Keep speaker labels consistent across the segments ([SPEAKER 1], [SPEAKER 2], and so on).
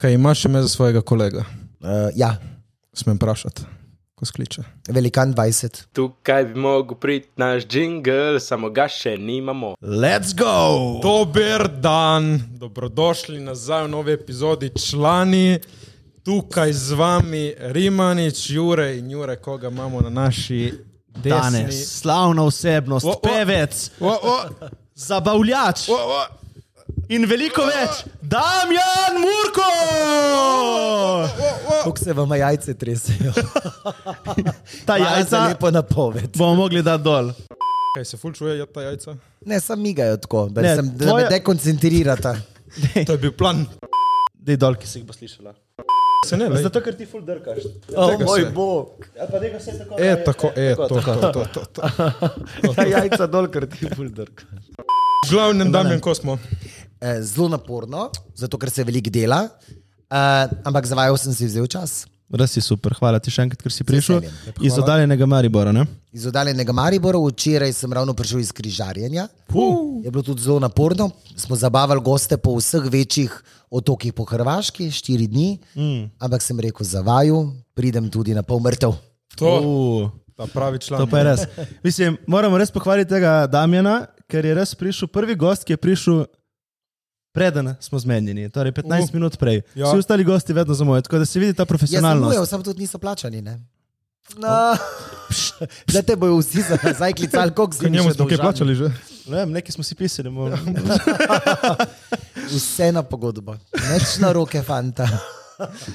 [SPEAKER 1] Kaj imaš ime za svojega kolega?
[SPEAKER 2] Uh, ja,
[SPEAKER 1] Smem vprašati, ko skliče.
[SPEAKER 2] velikan 20.
[SPEAKER 3] Tukaj bi mogel priti naš jingle, samo ga še nimamo.
[SPEAKER 4] Let's go!
[SPEAKER 1] Dober dan, dobrodošli nazaj v novi epizodi člani. Tukaj z vami Rimanič, Jure in Jure, koga imamo na naši desni.
[SPEAKER 4] Danes, slavna osebnost,
[SPEAKER 1] O, o.
[SPEAKER 4] pevec,
[SPEAKER 1] O, o,
[SPEAKER 4] zabavljač
[SPEAKER 1] o, o.
[SPEAKER 4] in veliko več, Damjan Murko!
[SPEAKER 2] Kako se vam jajce tresejo?
[SPEAKER 4] Ta
[SPEAKER 2] Hvala za
[SPEAKER 4] jajca
[SPEAKER 2] lepo napoved.
[SPEAKER 4] bomo mogli dati dol.
[SPEAKER 1] Kaj se ful čuje, je ta jajca?
[SPEAKER 2] Ne, sam migajo tako, da,
[SPEAKER 4] Ne,
[SPEAKER 2] ne, sem, da
[SPEAKER 4] tvoje-
[SPEAKER 2] me dekoncentrirata.
[SPEAKER 1] To je bil plan.
[SPEAKER 4] Dej dol, ki si jih bo slišala.
[SPEAKER 1] Se ne, lej.
[SPEAKER 4] Zato, ker ti ful drkaš.
[SPEAKER 2] O
[SPEAKER 1] Tega
[SPEAKER 2] moj
[SPEAKER 1] se.
[SPEAKER 2] bog,
[SPEAKER 4] Ali Ja, pa nekaj se tako.
[SPEAKER 1] E, tako, e, to, to, to, to, to, to.
[SPEAKER 4] Ta jajca dol, ker ti ful drkaš.
[SPEAKER 1] V glavnem, Damien, ko smo.
[SPEAKER 2] Eh, zelo naporno, zato ker se veliko dela, uh, ampak za vajo sem si vzel čas.
[SPEAKER 4] Res si super, hvala ti še enkrat, ker si prišel
[SPEAKER 2] veseljem.
[SPEAKER 4] iz oddaljenega Maribora. Ne?
[SPEAKER 2] Iz oddaljenega Maribora, včeraj sem ravno prišel iz križarjenja. Uh. Je bilo tudi zelo naporno, smo zabavali goste po vseh večjih otokih po Hrvaški, štiri dni, mm. ampak sem rekel za vaju, pridem tudi na pol mrtev.
[SPEAKER 1] To,
[SPEAKER 4] Uh,
[SPEAKER 1] ta pravi član.
[SPEAKER 4] to pa je res. Mislim, moramo res pohvaliti tega Damjana, ker je res prišel prvi gost, ki je prišel. Preden smo zmenjeni, torej 15 uh,
[SPEAKER 1] Uh.
[SPEAKER 4] minut prej.
[SPEAKER 1] Ja.
[SPEAKER 4] Ja. Vsi ostali gosti vedno zamujajo, tako da se vidi ta
[SPEAKER 2] Jaz sem
[SPEAKER 4] profesionalnost.
[SPEAKER 2] ujel, samo tudi niso plačani. Ne? No. Da te bojo vsi za nazaj klicali, koliko si
[SPEAKER 1] K njemu smo kaj plačali že.
[SPEAKER 4] Ne vem, nekaj smo si pisali. bomo-
[SPEAKER 2] Vse na pogodbo, neč na roke, fanta.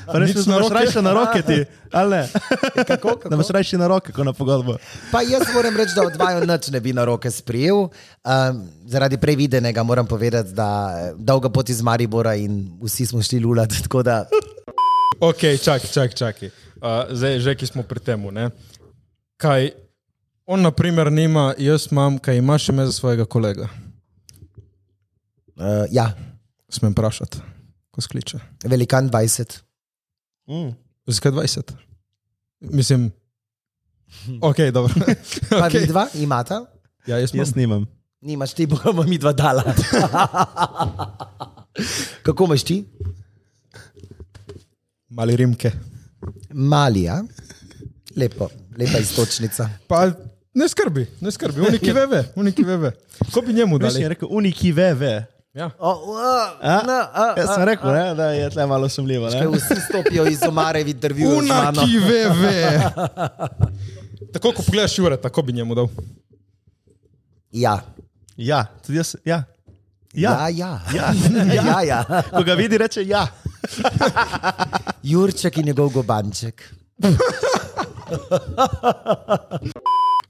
[SPEAKER 4] Pa Res
[SPEAKER 1] Nič na
[SPEAKER 4] smo naš
[SPEAKER 1] roke.
[SPEAKER 4] rajši na roke ti, ali ne?
[SPEAKER 2] Kako,
[SPEAKER 4] Da
[SPEAKER 2] kako?
[SPEAKER 4] imaš rajši na roke, kot na pogodbo.
[SPEAKER 2] Pa jaz moram reči, da od vaju nič ne bi na roke sprijel. Um, zaradi previdenega moram povedati, da eh, dolga pot iz Maribora in vsi smo šli lulat. Tako da
[SPEAKER 1] Ok, čakaj, čakaj. čakaj. Uh, zdaj, že ki smo pri tem. Kaj on, na primer, nima, jaz imam, kaj imaš ime za svojega kolega?
[SPEAKER 2] uh, ja,
[SPEAKER 1] Smem vprašati, ko skliče.
[SPEAKER 2] velikan 20.
[SPEAKER 4] Mm.
[SPEAKER 1] Zakaj 20? Mislim. Ok, dobro.
[SPEAKER 2] Pa okay.
[SPEAKER 1] okay.
[SPEAKER 2] vidva imata,
[SPEAKER 1] Ja, jaz imam.
[SPEAKER 4] Jaz nimam.
[SPEAKER 2] nimaš ti, bomo mi dva dala. Kako imaš ti?
[SPEAKER 1] Mali rimke.
[SPEAKER 2] Malija, lepo, lepa istočnica.
[SPEAKER 1] Pa ne skrbi, ne skrbi, uniki veve, uniki veve. Ko bi njemu
[SPEAKER 4] Veš, je
[SPEAKER 1] dali?
[SPEAKER 4] rekel, uniki ve, ve.
[SPEAKER 1] Ja.
[SPEAKER 2] O, o,
[SPEAKER 4] A?
[SPEAKER 2] na, a,
[SPEAKER 4] Jaz
[SPEAKER 2] a.
[SPEAKER 4] sem rekel, ne, da je tle malo sumljivo. ne.
[SPEAKER 2] Ker Vsi stopijo iz omare v intervju. z mano.
[SPEAKER 1] Unaki veve. Tako, ko pogledaš Jure, tako bi njemu dal.
[SPEAKER 2] Ja,
[SPEAKER 4] Ja, tudi jaz. Ja.
[SPEAKER 2] ja,
[SPEAKER 4] Ja.
[SPEAKER 2] ja.
[SPEAKER 4] Ja.
[SPEAKER 2] ja, ja.
[SPEAKER 4] Ko ga vidi, reče ja.
[SPEAKER 2] Jurček in njegov gobanček.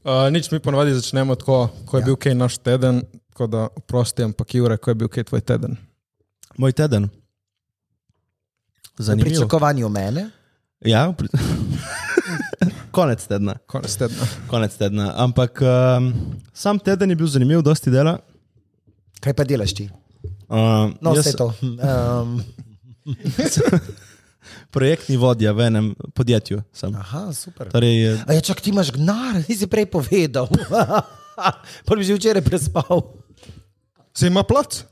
[SPEAKER 1] Uh, nič mi ponovadi začnemo tako, ko je ja. bil kaj naš teden, tako da oprosti, ampak Jure, ko je bil kaj tvoj teden.
[SPEAKER 4] Moj teden.
[SPEAKER 2] V
[SPEAKER 4] Zanimivo.
[SPEAKER 2] pričakovanju mene,
[SPEAKER 4] Ja, pri... konec tedna.
[SPEAKER 1] Konec tedna.
[SPEAKER 4] Konec tedna. Ampak um, sam teden je bil zanimiv, dosti dela.
[SPEAKER 2] kaj pa delaš ti?
[SPEAKER 4] Um,
[SPEAKER 2] No,
[SPEAKER 4] jaz
[SPEAKER 2] vse to. Um,
[SPEAKER 4] Projektni vodja v enem podjetju sem.
[SPEAKER 2] aha, super.
[SPEAKER 4] Torej,
[SPEAKER 2] A ja, čak ti imaš gnar, nisi prej povedal. Prvi že včeraj prespal.
[SPEAKER 1] Se ima plač?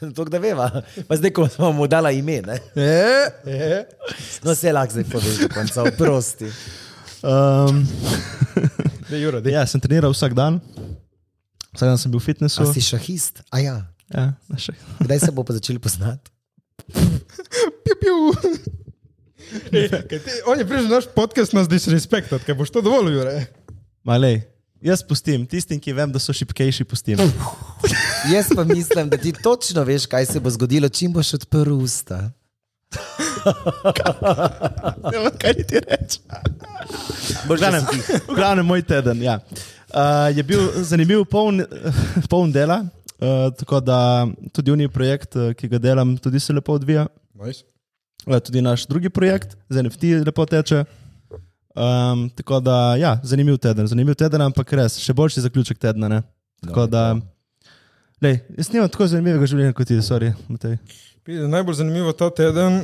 [SPEAKER 2] To, da veva. Pa zdaj, ko smo mu dala ime, ne?
[SPEAKER 1] Je, je.
[SPEAKER 2] no se lahko zdaj poveš do konca, oprosti.
[SPEAKER 4] um,
[SPEAKER 1] De, Jure, de.
[SPEAKER 4] Ja, sem treniral vsak dan, vsak dan sem bil v fitnessu.
[SPEAKER 2] A si šahist? A ja,
[SPEAKER 4] Ja, na še.
[SPEAKER 2] kdaj se bo pa začeli poznati?
[SPEAKER 1] Piu, piu. E, kaj ti- On je prišel na naš podcast, nas disrespektat, kaj boš to dovolj, Jure.
[SPEAKER 4] Malej, jaz pustim, tistim, ki vem, da so šipkejši, pustim.
[SPEAKER 2] Jaz pa mislim, da ti točno veš, kaj se bo zgodilo, čim boš odprl usta.
[SPEAKER 4] Ne vem, kaj ti reče. V glavnem, v glavnem, moj teden. Ja. Uh, je bil zanimiv, poln, poln dela, uh, tako da tudi unij projekt, eh, ki ga delam, tudi se lepo odvija.
[SPEAKER 1] Nice.
[SPEAKER 4] Eh, Tudi naš drugi projekt, z NFT lepo teče. Um, tako da, ja, zanimiv teden, zanimiv teden, ampak res, še boljši zaključek tedna. Ne? Tako no, da, lej, jaz nimam tako zanimivega življenja kot ti, sorry, Matej.
[SPEAKER 1] Najbolj zanimivo ta teden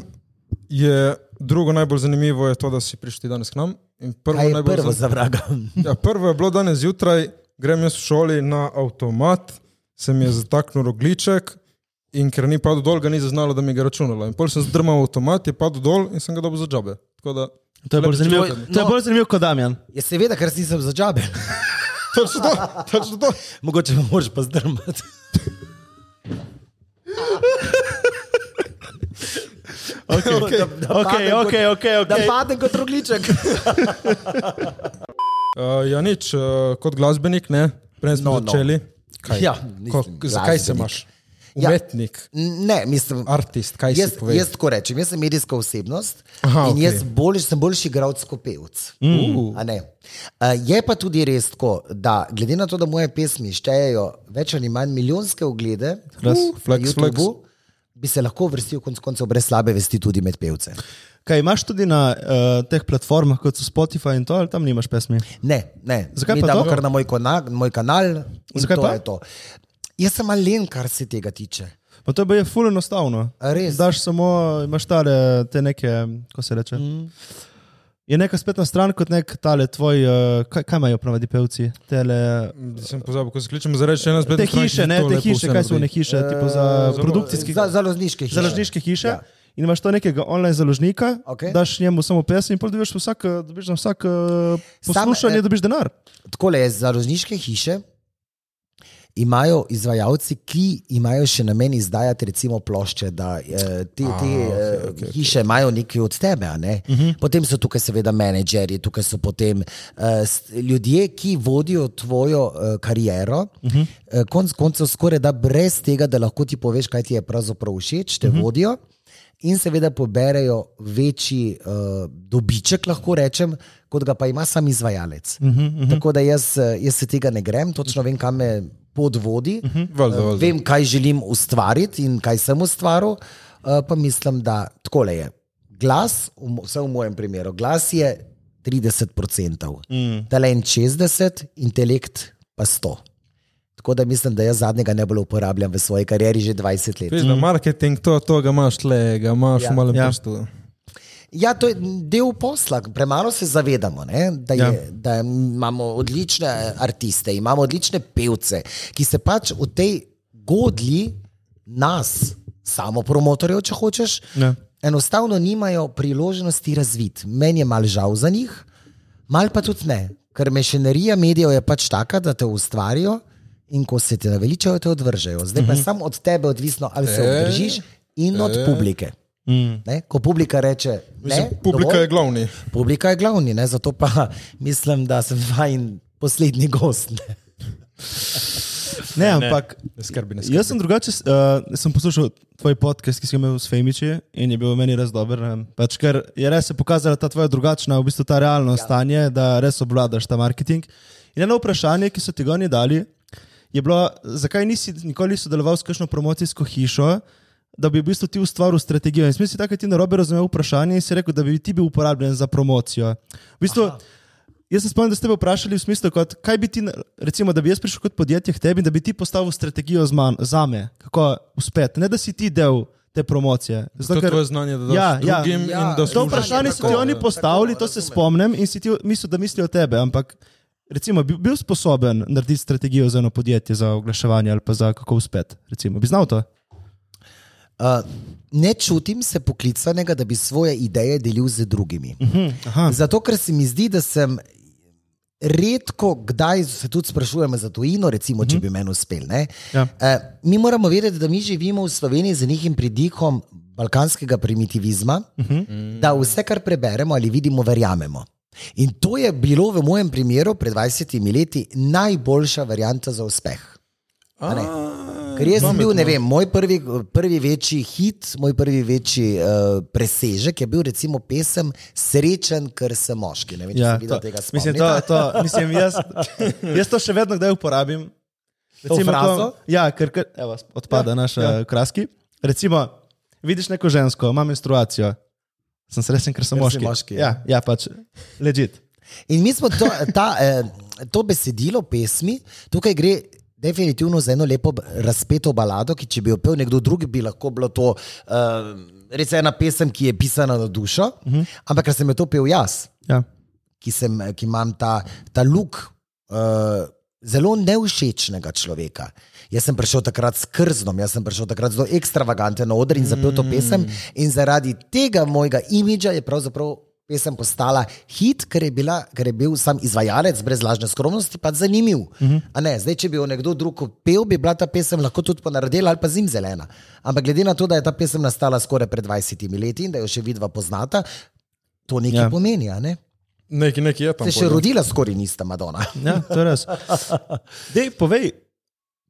[SPEAKER 1] je, drugo najbolj zanimivo je to, da si prišel ti danes k nam. In prvo,
[SPEAKER 2] Kaj je
[SPEAKER 1] najbolj
[SPEAKER 2] prvo
[SPEAKER 1] zan-
[SPEAKER 2] za vraga?
[SPEAKER 1] Ja, prvo je bilo danes zjutraj, grem jaz v šoli na avtomat, se mi je zataknil rogliček, In ker ni padel dol, ga ni zaznala, da mi ga je računala. In pol sem zdrmal avtomat, je padel dol in sem ga dobil za džabe. Tako da,
[SPEAKER 4] To je bolj zanimivo, to je
[SPEAKER 2] no.
[SPEAKER 4] bolj zanimivo kot Damjan.
[SPEAKER 2] Ja, seveda, ker nisem za džabe.
[SPEAKER 1] točno to, točno to.
[SPEAKER 2] Mogoče me moraš pa zdrmati.
[SPEAKER 4] Okay, okay,
[SPEAKER 2] Da- da
[SPEAKER 4] okay,
[SPEAKER 2] padem
[SPEAKER 4] okay,
[SPEAKER 2] kot-
[SPEAKER 4] okay,
[SPEAKER 2] Da
[SPEAKER 4] okay.
[SPEAKER 2] padem kot rogliček.
[SPEAKER 1] Uh, ja, nič, uh, kot glasbenik, ne, prej smo no,
[SPEAKER 2] No, no.
[SPEAKER 1] začeli.
[SPEAKER 2] Ja,
[SPEAKER 1] Ko,
[SPEAKER 2] nisem
[SPEAKER 1] zakaj se
[SPEAKER 2] glasbenik.
[SPEAKER 1] imaš?
[SPEAKER 2] Ja.
[SPEAKER 1] Umetnik,
[SPEAKER 2] Ne, mislim.
[SPEAKER 1] ja. artist, kaj
[SPEAKER 2] Jaz,
[SPEAKER 1] si poveš?
[SPEAKER 2] jaz tako rečem, jaz sem medijska osebnost Aha,
[SPEAKER 1] Aha,
[SPEAKER 2] in jaz
[SPEAKER 1] okej.
[SPEAKER 2] bolj, sem boljši igralec kot pevec. Mm. Je pa tudi res tako, da glede na to, da moje pesmi štejejo več ali manj milijonske oglede uh,
[SPEAKER 4] Res,
[SPEAKER 2] na
[SPEAKER 1] flex, flex.
[SPEAKER 2] YouTubu, bi se lahko vrstil konc koncev brez slabe vesti tudi med pevce.
[SPEAKER 4] Kaj imaš tudi na uh, teh platformah, kot so Spotify in to, ali tam nimaš pesmi?
[SPEAKER 2] Ne, ne.
[SPEAKER 4] Zakaj
[SPEAKER 2] Mi
[SPEAKER 4] pa
[SPEAKER 2] damo
[SPEAKER 4] to?
[SPEAKER 2] kar na moj, kona, moj kanal. in
[SPEAKER 4] Zakaj
[SPEAKER 2] to
[SPEAKER 4] pa?
[SPEAKER 2] je To. Jaz sem malen, kar se tega tiče.
[SPEAKER 4] Pa to je bilo fulno enostavno.
[SPEAKER 2] A res?
[SPEAKER 4] Daš samo, imaš tale, te neke, ko se reče. Mm. Je neka spletna stran kot nek tale tvoj, uh, kaj, kaj imajo pravi pevci? Tele,
[SPEAKER 1] Sem pozabil, ko se kličem, zdaj še ena spet.
[SPEAKER 4] te hiše, ne, te hiše, kaj so ne hiše, uh, tipo za produkcijske,
[SPEAKER 2] Eh, Za, založniške hiše.
[SPEAKER 4] založniške hiše.
[SPEAKER 2] Ja.
[SPEAKER 4] Ja. In imaš to nekega online založnika,
[SPEAKER 2] Okej.
[SPEAKER 4] daš njemu samo pesem in pol dobiš, vsak, eh, dobiš na vsak eh, poslušanje,
[SPEAKER 2] eh,
[SPEAKER 4] Sam, dobiš denar.
[SPEAKER 2] Tako le, založniške hiše imajo izvajalci, ki imajo še namen izdajati, recimo, plošče, da eh, te, te
[SPEAKER 1] Ah, okej,
[SPEAKER 2] okay, okay,
[SPEAKER 1] okej, Mhm.
[SPEAKER 2] hiše okay. imajo nekaj od tebe. a Ne? Uh -huh. Potem so tukaj, seveda, menedžerji, tukaj so potem eh, s- ljudje, ki vodijo tvojo eh, kariero. Uh
[SPEAKER 1] Mhm.
[SPEAKER 2] -huh. eh, konc koncev, skoraj da brez tega, da lahko ti poveš, kaj ti je pravzaprav všeč, te uh -huh.
[SPEAKER 1] Mhm.
[SPEAKER 2] vodijo. In seveda poberejo večji uh, dobiček, lahko rečem, kot ga pa ima sam izvajalec. Uh -huh, uh -huh. Tako da jaz, eh, jaz se tega ne grem, točno vem, kam me pot vodi. Uh -huh.
[SPEAKER 1] Valjda,
[SPEAKER 2] Eh,
[SPEAKER 1] valjda.
[SPEAKER 2] Vem, kaj želim ustvariti in kaj sem ustvaril, eh, pa mislim, da takole je. Glas, v mo- vsaj v mojem primeru, glas je 30%, mm. talent 60%, intelekt pa 100%. Tako da mislim, da jaz zadnjega ne bolj uporabljam v svoji karieri že 20 let.
[SPEAKER 1] Veš, da marketing, to, to ga imaš, le, ga imaš ja. v malem
[SPEAKER 4] Ja.
[SPEAKER 1] ja. prstu.
[SPEAKER 2] Ja, to je del posla. Premalo se zavedamo, ne, da, je, ja. da imamo odlične umetnike, imamo odlične pevce, ki se pač v tej godli nas, samo promotorjev, če hočeš,
[SPEAKER 4] Ja.
[SPEAKER 2] enostavno nimajo priložnosti razviti. Meni je mal žal za njih, mal pa tudi ne, ker mešanerija medijev je pač taka, da te ustvarijo in ko se ti naveličajo, te odvržejo. Zdaj pa je samo od tebe odvisno, ali se
[SPEAKER 1] E,
[SPEAKER 2] održiš in od publike. Ne? Ko publika reče, ne,
[SPEAKER 1] Mislim, publika
[SPEAKER 2] dovolj,
[SPEAKER 1] je glavni.
[SPEAKER 2] publika je glavni, ne? zato pa mislim, da sem vajen poslednji gost. Ne?
[SPEAKER 4] Ne, ampak
[SPEAKER 1] Ne skrbi, ne skrbi.
[SPEAKER 4] Jaz sem drugače, uh, sem poslušal tvoj podcast, ki si ga imel s Femiči in je bil meni res dober. em, Pač, ker je res se pokazala ta tvoja drugačna, v bistvu ta realno ja. stanje, da res obvladaš ta marketing. In eno vprašanje, ki so ti ga oni dali, je bilo, zakaj nisi nikoli sodeloval s kakšno promocijsko hišo, da bi v bistvu ti ustvaril strategijo. In smisel, tako je ti narobe razumel vprašanje in si rekel, da bi ti bil uporabljen za promocijo. V bistvu, Jaz se spomnim, da ste me vprašali v smislu, kot, kaj bi ti, na- recimo, da bi jaz prišel kot podjetje k tebi, in da bi ti postavil strategijo z man, za me, kako uspeti. Ne, da si ti del te promocije.
[SPEAKER 1] To
[SPEAKER 4] Zato,
[SPEAKER 1] je
[SPEAKER 4] ker,
[SPEAKER 1] tvoje znanje, da daš
[SPEAKER 4] Ja,
[SPEAKER 1] ja,
[SPEAKER 4] ja.
[SPEAKER 1] drugim
[SPEAKER 2] Ja,
[SPEAKER 1] ja, in da
[SPEAKER 4] to
[SPEAKER 1] služiš
[SPEAKER 4] vprašanje so ti
[SPEAKER 1] tako,
[SPEAKER 4] oni
[SPEAKER 1] ne.
[SPEAKER 4] postavili, to se spomnim in si ti mislil, da mislijo o tebi. Ampak, recimo, bi bil sposoben narediti strategijo za eno podjetje, za oglaševanje ali pa za kako uspeti. Recimo, bi znal to?
[SPEAKER 2] Uh, ne čutim se poklicanega, da bi svoje ideje delil z drugimi. Uh -huh.
[SPEAKER 4] Mhm, Aha,
[SPEAKER 2] Zato, ker se mi zdi, da sem redko, kdaj se tudi sprašujem za tujino, recimo, če bi meni uspel. ne.
[SPEAKER 4] Mhm. Ja.
[SPEAKER 2] Eh, Mi moramo vedeti, da mi živimo v Sloveniji z nekim pridihom balkanskega primitivizma,
[SPEAKER 4] Mhm.
[SPEAKER 2] da vse, kar preberemo ali vidimo, verjamemo. In to je bilo v mojem primeru pred 20 leti najboljša varianta za uspeh. A ne? Ker jaz sem bil, ne vem, moj prvi, prvi večji hit, moj prvi večji uh, presežek je bil recimo pesem Srečen, ker sem moški. Ne vem, če ja,
[SPEAKER 4] ja,
[SPEAKER 2] sem videl
[SPEAKER 4] to,
[SPEAKER 2] to, tega
[SPEAKER 4] mislim,
[SPEAKER 2] spomnila.
[SPEAKER 4] to, to, mislim, jaz, jaz to še vedno kdaj uporabim.
[SPEAKER 2] frazo?
[SPEAKER 4] ko- ja, ker, ker evo, odpada ja, naša ja. kraski. Recimo, vidiš neko žensko, ima menstruacijo. Sem srečen, ker sem
[SPEAKER 2] Ker si
[SPEAKER 4] moški.
[SPEAKER 2] moški, ja.
[SPEAKER 4] ja, ja, pač ležit.
[SPEAKER 2] In mi smo to, ta, eh, to besedilo pesmi, tukaj gre definitivno za eno lepo b- razpeto balado, ki če bi jo pel nekdo drug, bi lahko bilo to eh, res ena pesem, ki je pisana na dušo, uh -huh. ampak ker sem jo to pel jaz,
[SPEAKER 4] Ja.
[SPEAKER 2] ki, sem, ki imam ta, ta luk. Uh, zelo neušečnega človeka. Jaz sem prišel takrat s krznom, jaz sem prišel takrat zelo ekstravaganten na oder in zapel to pesem. In zaradi tega mojega imidža je pravzaprav pesem postala hit, ker je, bila, ker je bil sam izvajalec brez lažne skromnosti, pa zanimiv. Uh -huh. ne, zdaj, če bi jo nekdo drug pel, bi bila ta pesem lahko tudi ponaredila ali pa zim zelena. Ampak glede na to, da je ta pesem nastala skoraj pred 20 leti in da jo še vidva poznata, to nekaj
[SPEAKER 4] Ja.
[SPEAKER 2] ja. pomeni. a Ne?
[SPEAKER 1] Neki, neki je tam.
[SPEAKER 2] Se še rodila skoraj nista Madonna.
[SPEAKER 4] Ja, to je res. Dej, povej,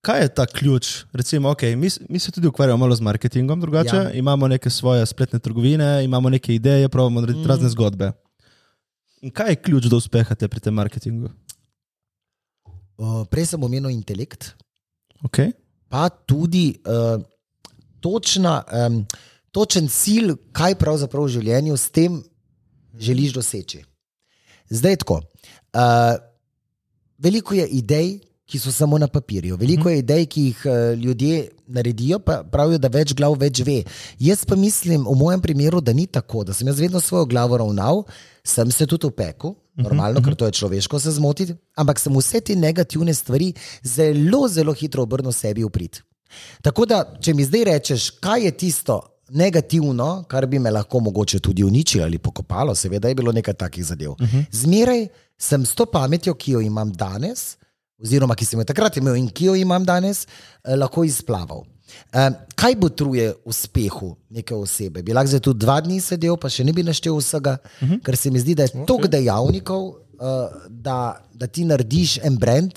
[SPEAKER 4] kaj je ta ključ? Recimo, okay, mi, s- mi se tudi ukvarjamo malo z marketingom, drugače ja.
[SPEAKER 2] Ja.
[SPEAKER 4] imamo neke svoje spletne trgovine, imamo neke ideje, pravimo narediti mm. razne zgodbe. In kaj je ključ do uspeha te pri tem marketingu?
[SPEAKER 2] Uh, prej sem omenil intelekt.
[SPEAKER 4] Okay.
[SPEAKER 2] pa tudi uh, točna, um, točen cilj, kaj pravzaprav v življenju s tem želiš doseči. Zdaj je tako. Uh, veliko je idej, ki so samo na papirju, veliko je idej, ki jih uh, ljudje naredijo, pa pravijo, da več glav več ve. Jaz pa mislim, v mojem primeru, da ni tako, da sem jaz vedno svojo glavo ravnal, sem se tudi opekel. Normalno, ker to je človeško se zmotiti, ampak sem vse te negativne stvari zelo, zelo hitro obrnil sebi v prid. Tako da, če mi zdaj rečeš, kaj je tisto negativno, kar bi me lahko mogoče tudi uničilo ali pokopalo, seveda je bilo nekaj takih zadev. Uh -huh. Zmeraj sem s to pametjo, ki jo imam danes, oziroma ki sem jo takrat imel in ki jo imam danes, eh, lahko izplaval. Em, Kaj botruje uspehu neke osebe? Bi lahko zdaj tu dva dni sedel, pa še ne bi naštel vsega, uh -huh. ker se mi zdi, da je okay. toliko dejavnikov, eh, da, da ti narediš en brand,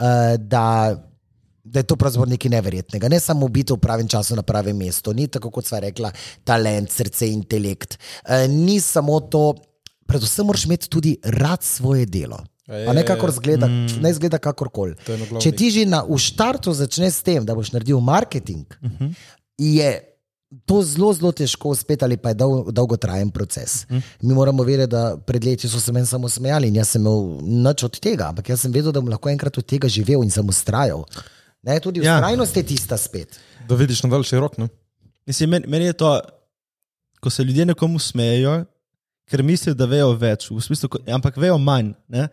[SPEAKER 2] eh, da da je to pravzaprav nekaj neverjetnega. Ne samo biti v pravem času na pravem mestu, ni tako, kot sva rekla, talent, srce, intelekt. E, ni samo to, predvsem moraš imeti tudi rad svoje delo.
[SPEAKER 1] Ej,
[SPEAKER 2] Pa ne kakor zgleda, mm. ne zgleda kakorkoli.
[SPEAKER 1] To je naglavnik.
[SPEAKER 2] Če ti že na, v štartu začneš s tem, da boš naredil marketing, uh -huh. je to zelo, zelo težko uspeti ali pa je dol, dolgotrajen proces. Mm. Mi moramo vedeti, da pred leti so se meni samo smejali in jaz sem imel nič od tega, ampak jaz sem vedel, da bom lahko enkrat od tega živel in sem ustrajal. Ne, tudi
[SPEAKER 4] Ja.
[SPEAKER 2] ustrajnost ja. je tista spet.
[SPEAKER 1] Da vidiš na daljši rok. Ne?
[SPEAKER 4] Mislim, meni, meni je to, ko se ljudje nekomu smejejo, ker mislijo, da vejo več, v smislu, ko, ampak vejo manj. Ne?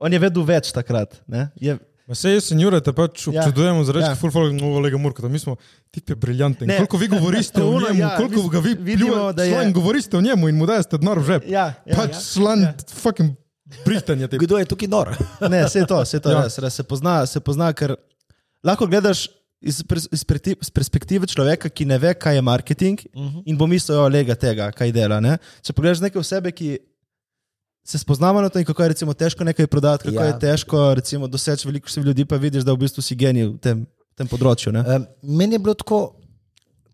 [SPEAKER 4] On je vedel več takrat. ne. Je,
[SPEAKER 1] Ma sej, senjure, te pač
[SPEAKER 4] Ja.
[SPEAKER 1] občudujemo za reči,
[SPEAKER 4] Ja.
[SPEAKER 1] ja. full folk novega Murka. Mi smo, tip je briljanten.
[SPEAKER 4] Ne.
[SPEAKER 1] Ne. Koliko vi govorite o
[SPEAKER 4] Ono,
[SPEAKER 1] njemu,
[SPEAKER 4] ja,
[SPEAKER 1] ja, koliko
[SPEAKER 4] mis-
[SPEAKER 1] ga vi
[SPEAKER 4] vidimo,
[SPEAKER 1] vidimo,
[SPEAKER 4] da
[SPEAKER 1] da
[SPEAKER 4] je-
[SPEAKER 1] je. Sloven govorite o njemu in mu dajete denar v žep.
[SPEAKER 4] ja, ja,
[SPEAKER 1] pač
[SPEAKER 4] ja.
[SPEAKER 1] slan, ja. fucking Britan je tip.
[SPEAKER 2] Kdo je tukaj nor?
[SPEAKER 4] Ne, se je to, se je to ja.
[SPEAKER 1] Ja.
[SPEAKER 4] res, res se pozna, se pozna, ker lahko gledaš iz, pers- iz, preti- iz perspektive človeka, ki ne ve, kaj je marketing uh
[SPEAKER 2] Mhm.
[SPEAKER 4] -huh. in bo mislil, da je lega tega, kaj dela. Ne? Če pogledaš neke osebe, ki se spoznamo na to, in kako je recimo, težko nekaj prodati, kako ja.
[SPEAKER 2] Ja.
[SPEAKER 4] je težko recimo, doseči veliko število ljudi, pa vidiš, da v bistvu si genij v tem, tem področju. Ne?
[SPEAKER 2] Um, meni je bilo tako,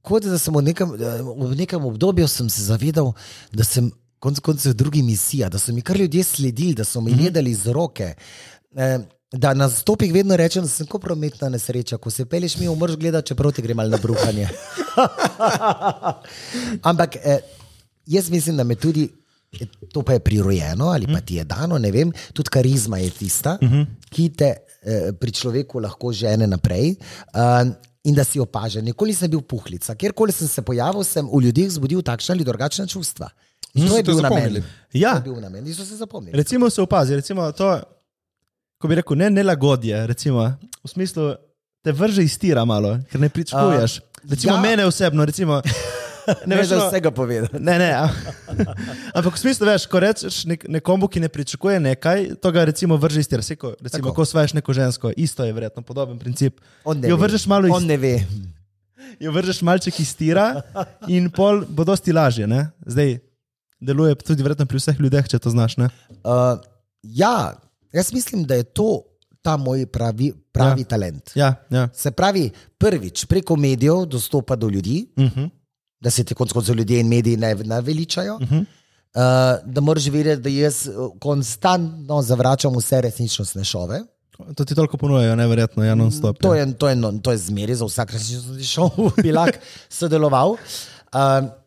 [SPEAKER 2] kot da sem v nekem, eh, v nekem obdobju sem se zavedal, da sem konec koncev drugi misija, da so mi kar ljudje sledili, da so mi jedli iz roke. Um, Da na stopih vedno rečem, da sem kot prometna nesreča, ko se peleš mi umrš gledati, čeprav ti gre malo na bruhanje. Ampak eh, jaz mislim, da me tudi, eh, to pa je prirojeno ali pa ti je dano, ne vem, tudi karizma je tista, uh -huh. ki te eh, pri človeku lahko žene naprej. Um, In da si opažen. Nikoli nisem bil puhlica. Kjerkoli sem se pojavil, sem v ljudeh zbudil takšna ali drugačna čustva. In
[SPEAKER 1] Mm,
[SPEAKER 2] to je
[SPEAKER 1] so te
[SPEAKER 2] bil namen.
[SPEAKER 1] zapomnili.
[SPEAKER 4] Ja.
[SPEAKER 2] To je bil namen. Niso se zapomnili.
[SPEAKER 4] Recimo se opazi, recimo to, ko bi rekel, ne nelagodje, recimo, v smislu, te vrže iz tira malo, ker ne pričakuješ.
[SPEAKER 2] A,
[SPEAKER 4] Recimo ja.
[SPEAKER 2] ja.
[SPEAKER 4] mene osebno, recimo.
[SPEAKER 2] Ne veš,
[SPEAKER 4] no,
[SPEAKER 2] da vsega povedal.
[SPEAKER 4] Ne, ne. a- Ampak v smislu, veš, ko rečeš nek, nekomu, ki ne pričakuje nekaj, to ga recimo vrže iz tira. Sej, ko, recimo,
[SPEAKER 2] Tako.
[SPEAKER 4] ko svajaš neko žensko, isto je verjetno podoben princip.
[SPEAKER 2] On ne
[SPEAKER 4] Jo
[SPEAKER 2] ve.
[SPEAKER 4] vržeš malo iz
[SPEAKER 2] On ne ve.
[SPEAKER 4] jo vržeš malček iz tira in pol bo dosti lažje. Ne? Zdaj deluje tudi verjetno pri vseh ljudeh, če to znaš. Ne?
[SPEAKER 2] Uh, ja, jaz mislim, da je to ta moj pravi, pravi ja. talent.
[SPEAKER 4] Ja, ja.
[SPEAKER 2] Se pravi, prvič preko medijev dostopa do ljudi,
[SPEAKER 4] Uh -huh.
[SPEAKER 2] da se ti konec koncev ljudje in mediji ne naveličajo. Uh -huh. uh, da moraš vedeti, da jaz eh, konstantno zavračam vse resničnostne šove.
[SPEAKER 4] To ti toliko ponujajo, neverjetno, ja, non-stop.
[SPEAKER 2] To
[SPEAKER 4] ja.
[SPEAKER 2] je, to je, no, to je zmeri za vsak resničnostni šov, bi lahko sodeloval. Uh,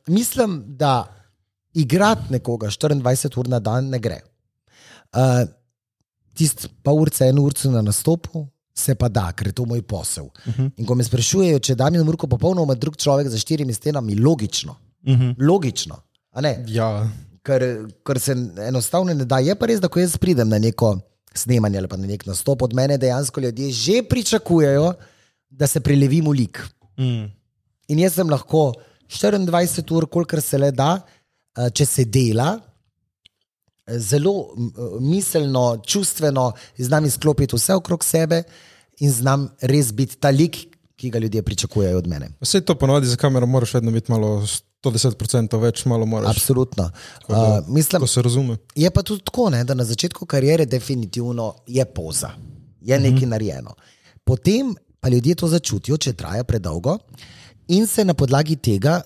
[SPEAKER 2] mislim, da igrati nekoga 24 ur na dan ne gre. Uh, Tisti pa urca, eno urco na nastopu, se pa da, ker je to moj posel. Uh -huh. In ko me sprašujejo, če je Damien Murko popolnoma drug človek za štirimi stenami, logično. Uh -huh. Logično. a Ne?
[SPEAKER 1] Ja,
[SPEAKER 2] ker, ker se enostavno ne da. Je pa res, da ko jaz pridem na neko snemanje ali pa na nek nastop, od mene dejansko ljudje že pričakujejo, da se prelevim v lik.
[SPEAKER 4] Mm.
[SPEAKER 2] In jaz sem lahko 24 ur, kolikor se le da, eh, če se dela, eh, zelo m, eh, miselno, čustveno znam izklopiti vse okrog sebe in znam res biti ta lik, ki ga ljudje pričakujejo od mene.
[SPEAKER 1] Vse to ponovadi za kamero moraš vedno biti malo 110% več, malo moraš.
[SPEAKER 2] Absolutno. Uh,
[SPEAKER 1] da-
[SPEAKER 2] mislim,
[SPEAKER 1] Ko se razume.
[SPEAKER 2] Je pa tudi tako, ne, da na začetku karijere definitivno je poza, je nekaj mm -hmm. narejeno. Potem pa ljudje to začutijo, če traja predolgo, in se na podlagi tega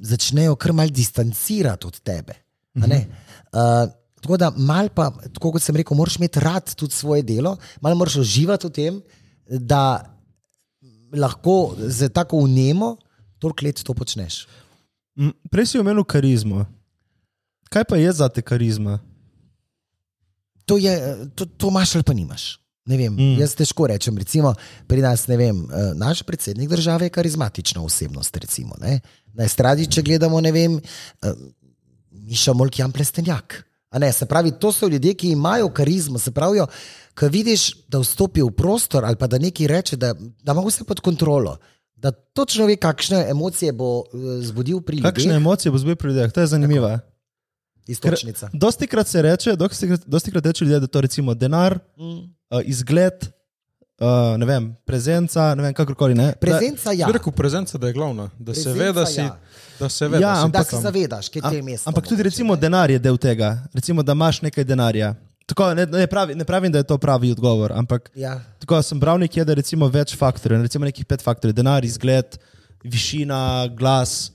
[SPEAKER 2] začnejo kar mal distancirati od tebe. Mm -hmm. uh, tako da, mal pa, tako kot sem rekel, moraš imeti rad tudi svoje delo, malo moraš uživati v tem, da lahko z tako vnemo toliko let to počneš.
[SPEAKER 4] Mm, Prej si omenil karizmo. Kaj pa je za te karizma?
[SPEAKER 2] to, je, to, to imaš ali pa nimaš. Ne Vem, mm. Jaz težko rečem, recimo, pri nas, ne vem, eh, naš predsednik države je karizmatična osebnost. Recimo, ne? Na estradi, če gledamo, ne vem, eh, Miša Molkjan Plestenjak. A Ne, se pravi, to so ljudje, ki imajo karizmo. Se pravi, ko vidiš, da vstopi v prostor ali pa da nekaj reče, da, da ima vse pod kontrolo, da točno ve, kakšne emocije bo eh, zbudil pri
[SPEAKER 4] Kakšne
[SPEAKER 2] ljudeh.
[SPEAKER 4] emocije bo zbil pri ljudeh? To je zanimivo. Tako.
[SPEAKER 2] Istočnica.
[SPEAKER 4] Dosti krat se reče, dosti krat, dosti krat reče ljudje, da je to recimo denar,
[SPEAKER 2] Mm.
[SPEAKER 4] uh, izgled, uh, ne vem, prezenca, ne vem, kakorkoli. Ne. Da-
[SPEAKER 2] Prezenca, ja.
[SPEAKER 1] Bi rekel, prezenca, da je glavna, da se
[SPEAKER 2] Prezenca,
[SPEAKER 1] ve, da si,
[SPEAKER 2] ja.
[SPEAKER 1] da se ve,
[SPEAKER 4] Ja,
[SPEAKER 1] da si
[SPEAKER 2] Da
[SPEAKER 4] ampak-
[SPEAKER 2] se zavedaš, kje ti je mesto. no.
[SPEAKER 4] Ampak tudi
[SPEAKER 2] mogoče,
[SPEAKER 4] recimo
[SPEAKER 2] ne.
[SPEAKER 4] denar je del tega, recimo, da imaš nekaj denarja. Tako, ne, ne, pravi, ne pravim, da je to pravi odgovor, ampak
[SPEAKER 2] Ja.
[SPEAKER 4] tako sem bral nekje, da je recimo več faktorjev, recimo nekih pet faktorjev, denar, izgled, višina, glas.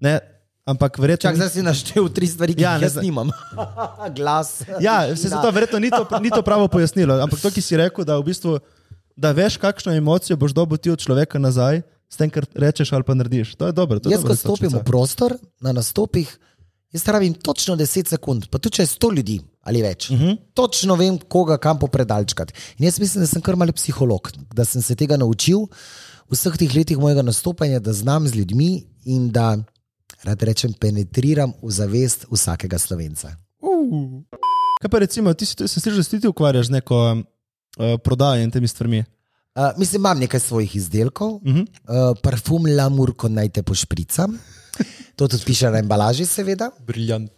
[SPEAKER 4] Ne, ampak verjetno.
[SPEAKER 2] Čak, zdaj si naštel tri stvari, ki
[SPEAKER 4] Ja,
[SPEAKER 2] ja,
[SPEAKER 4] ne
[SPEAKER 2] jih jaz
[SPEAKER 4] znam.
[SPEAKER 2] nimam. Glas.
[SPEAKER 4] Ja, se to verjetno ni to, ni to pravo pojasnilo, ampak to, ki si rekel, da, v bistvu, da veš, kakšno emocijo boš dobil ti od človeka nazaj, s tem, kar rečeš ali pa narediš. To je dobro. To je
[SPEAKER 2] Jaz, ko
[SPEAKER 4] dobra
[SPEAKER 2] stopim v
[SPEAKER 4] iztočnica.
[SPEAKER 2] prostor na nastopih, jaz rabim točno 10 sekund, pa tudi če je 100 ljudi ali več. Uh -huh. Točno vem, koga kam popredalčkati. In jaz mislim, da sem kar mali psiholog, da sem se tega naučil v vseh teh letih mojega nastopanja, da znam z ljudmi in da, rad rečem, penetriram v zavest vsakega slovenca.
[SPEAKER 4] Kaj pa recimo, ti si, tu- sem slišal, da se ti ti ukvarjaš z neko uh, prodajo in temi stvarmi.
[SPEAKER 2] Uh, mislim, imam nekaj svojih izdelkov, uh -huh. uh, parfum Lamur, ko naj te pošpricam. To tudi piše na embalaži, seveda.
[SPEAKER 1] briljant.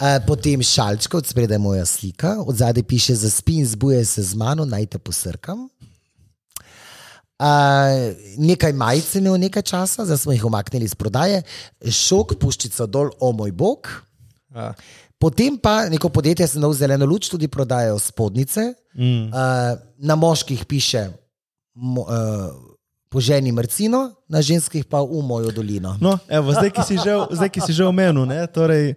[SPEAKER 2] Uh, potem šalčka, od spredaj je moja slika, od zadaj piše za spi in zbuje se z mano, naj te posrkam. Uh, nekaj majic je imel nekaj časa, zdaj smo jih omaknili iz prodaje, šok, puščica dol, o moj bog.
[SPEAKER 1] Ja.
[SPEAKER 2] Potem pa neko podjetje, sem dal zeleno luč, tudi prodajajo spodnjice.
[SPEAKER 4] Mm.
[SPEAKER 2] Uh, na moških piše mo, uh, poženi mrcino, na ženskih pa v mojo dolino.
[SPEAKER 4] No, evo, zdaj, ki si že, zdaj, ki si že omenil, ne, torej,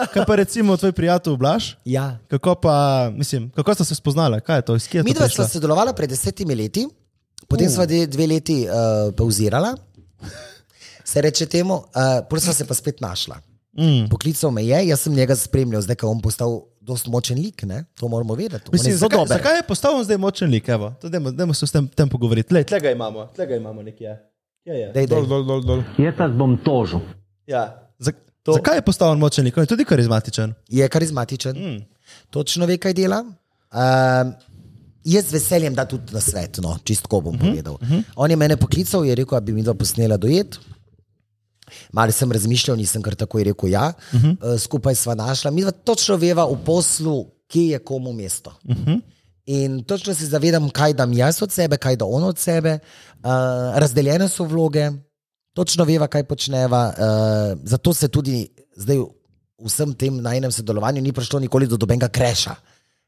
[SPEAKER 4] kaj pa recimo tvoj prijatelj Blaž?
[SPEAKER 2] Ja.
[SPEAKER 4] Kako pa, mislim, kako sta se spoznala, kaj je to, iz kje je
[SPEAKER 2] Mi
[SPEAKER 4] Ja, to
[SPEAKER 2] dva sva
[SPEAKER 4] prišlo?
[SPEAKER 2] sodelovala pred desetimi leti, potem uh. sva dve, dve leti uh, pauzirala, se reče temu, uh, potem sva se pa spet našla.
[SPEAKER 4] Mm.
[SPEAKER 2] Poklical me je, jaz sem njega spremljal, zdaj ko je on postal dost močen lik, ne? to moramo vedeti. On
[SPEAKER 4] Mislim,
[SPEAKER 2] je zelo
[SPEAKER 4] zakaj,
[SPEAKER 2] dober.
[SPEAKER 4] zakaj je postal on zdaj močen lik? Evo, to dajmo, dajmo se s tem, tem pogovoriti. Lej, tlega imamo, tlega imamo nekje. ja. Kje je?
[SPEAKER 2] Dej, dej.
[SPEAKER 1] Dol, dol, dol, dol.
[SPEAKER 5] Jaz vas bom tožil.
[SPEAKER 4] Ja. Za, to... Zakaj je postal on močen lik? On je tudi karizmatičen.
[SPEAKER 2] Je karizmatičen, mm. točno ve, kaj dela. Uh, jaz z veseljem da tudi na svet, no, čistko
[SPEAKER 4] Mhm,
[SPEAKER 2] bom uh -huh, povedal. Uh -huh. On je mene poklical in je rekel, da bi mi dva posnela dojet. Malo sem razmišljal, nisem kar takoj rekel ja. Uh
[SPEAKER 4] Mhm.
[SPEAKER 2] -huh. uh, skupaj sva našla, mi dva točno veva v poslu, kje je komu mesto. Uh
[SPEAKER 4] Mhm.
[SPEAKER 2] -huh. In točno se zavedam, kaj dam jaz od sebe, kaj da on od sebe. Uh, razdeljene so vloge, točno veva, kaj počneva. Uh, zato se tudi zdaj v vsem tem najnem sodelovanju ni prišlo nikoli do dobenega kreša.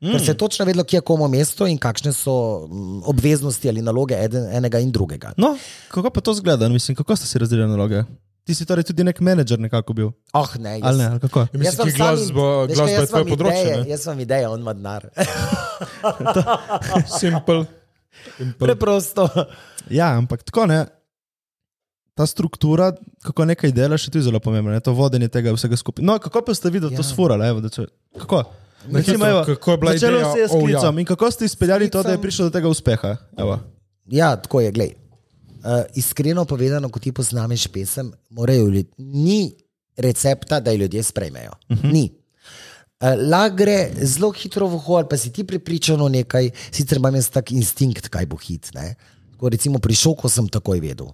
[SPEAKER 2] Mm. Ker se je točno vedelo, kje je komu mesto in kakšne so mm, obveznosti ali naloge eden, enega in drugega.
[SPEAKER 4] No, kako pa to zgleda? Mislim, kako ste si razdelili naloge? Ti si torej tudi nek menedžer nekako bil,
[SPEAKER 2] Oh, ne, jaz,
[SPEAKER 4] ali ne? Ali kako?
[SPEAKER 1] Ja, mislim,
[SPEAKER 2] jaz imam
[SPEAKER 1] ki glasbo,
[SPEAKER 2] sam- veš kaj,
[SPEAKER 1] glasba
[SPEAKER 2] jaz
[SPEAKER 1] je tvoje
[SPEAKER 2] imam
[SPEAKER 1] področje.
[SPEAKER 2] ideje,
[SPEAKER 1] ne?
[SPEAKER 2] Jaz imam idejo, on ima denar.
[SPEAKER 1] Simple. Simple.
[SPEAKER 2] Preprosto.
[SPEAKER 4] Ja, ampak tako ne. Ta struktura, kako nekaj delaš, je tudi zelo pomembna, ne? to vodenje tega vsega skupaj. No, kako pa ste videli ja. to
[SPEAKER 2] Ja.
[SPEAKER 4] sfurala? Evo, da če... Kako?
[SPEAKER 1] Na hitro, kako je bila
[SPEAKER 4] začelo
[SPEAKER 1] ideja?
[SPEAKER 4] se je s
[SPEAKER 1] Oh, ja.
[SPEAKER 4] klicom in kako ste izpeljali to, da je
[SPEAKER 2] Sklicem.
[SPEAKER 4] prišlo do tega uspeha? Evo.
[SPEAKER 2] Ja, tako je, glej. Uh, iskreno povedano, ko ti posnameš
[SPEAKER 1] Mhm.
[SPEAKER 2] pesem, morajo ljudje. Ni recepta, da jo ljudje sprejmejo. Uh -huh. Ni. Eh, Lahko gre zelo hitro v hol, pa si ti pripričan o nekaj, sicer imam jaz tak instinkt, kaj bo hit. Ne? Tako recimo pri šoku sem takoj vedel,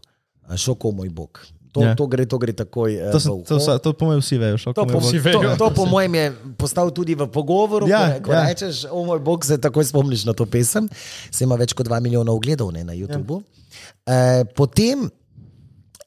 [SPEAKER 2] Eh, šoko moj bog. To,
[SPEAKER 4] Ja.
[SPEAKER 2] yeah. to, gre, to gre takoj. eh,
[SPEAKER 4] To, sem,
[SPEAKER 2] v
[SPEAKER 4] to,
[SPEAKER 2] uho.
[SPEAKER 4] vsa, to po mojem vsi vejo. šok
[SPEAKER 2] To,
[SPEAKER 4] moj
[SPEAKER 2] po,
[SPEAKER 4] bog.
[SPEAKER 1] vsi
[SPEAKER 2] to,
[SPEAKER 1] vejo.
[SPEAKER 2] to po mojem je postal tudi v pogovoru.
[SPEAKER 4] Ja,
[SPEAKER 2] Ja, ko ko
[SPEAKER 4] ja.
[SPEAKER 2] ja. rečeš, o moj bog, se takoj spomniš na to pesem. Se ima več kot 2 milijona ogledov ne, na YouTubu. Ja. E, potem,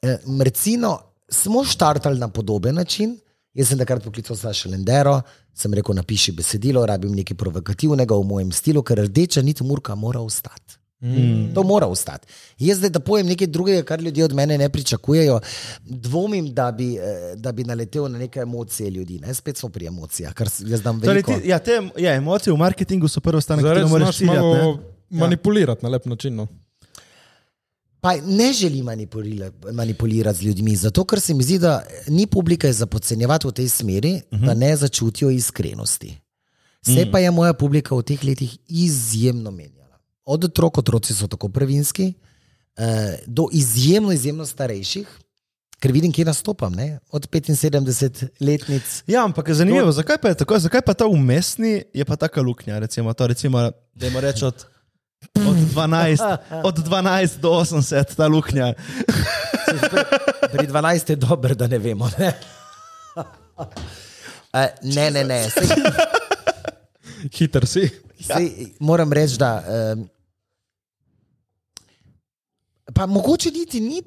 [SPEAKER 2] e, recimo, smo štartali na podoben način. Jaz sem takrat poklical Saša Lendero, sem rekel, napiši besedilo, rabim nekaj provokativnega v mojem stilu, ker rdeča nit murka mora ostati. Mm. To mora ostati. Jaz zdaj, da pojem nekaj drugega, kar ljudje od mene ne pričakujejo, dvomim, da bi, eh, da bi naletel na neke emocije ljudi. Ne? Spet smo pri emocijah, kar s- jaz znam
[SPEAKER 4] Torej,
[SPEAKER 2] veliko.
[SPEAKER 4] ti, ja, te ja, emocije v marketingu so prvo stanje, ki
[SPEAKER 1] Zares
[SPEAKER 4] ga moraš
[SPEAKER 1] znaš malo
[SPEAKER 4] ciljati. Ja.
[SPEAKER 1] manipulirati na lep način. No.
[SPEAKER 2] Pa ne želi manipulira, manipulirati z ljudmi, zato ker se mi zdi, da ni publike za podcenjevati v tej smeri, uh -huh. da ne začutijo iskrenosti. Vse pa je moja publika v teh letih izjemno menjala. Od otrok, otroci so tako prvinski, eh, do izjemno, izjemno starejših, ker vidim, kje nastopam, ne? od 75-letnic.
[SPEAKER 4] Ja, ampak je zanimivo, to... zakaj pa je tako, zakaj pa ta umestni je pa taka luknja, recimo, to, recimo da ima reči od, od, 12, od 12 do 80 ta luknja.
[SPEAKER 2] Pri 12 je dobro, da ne vemo. Ne, Eh, ne, ne. ne. Sej,
[SPEAKER 1] Hiter si.
[SPEAKER 2] Sej, moram reči, da. Um, pa mogoče niti ni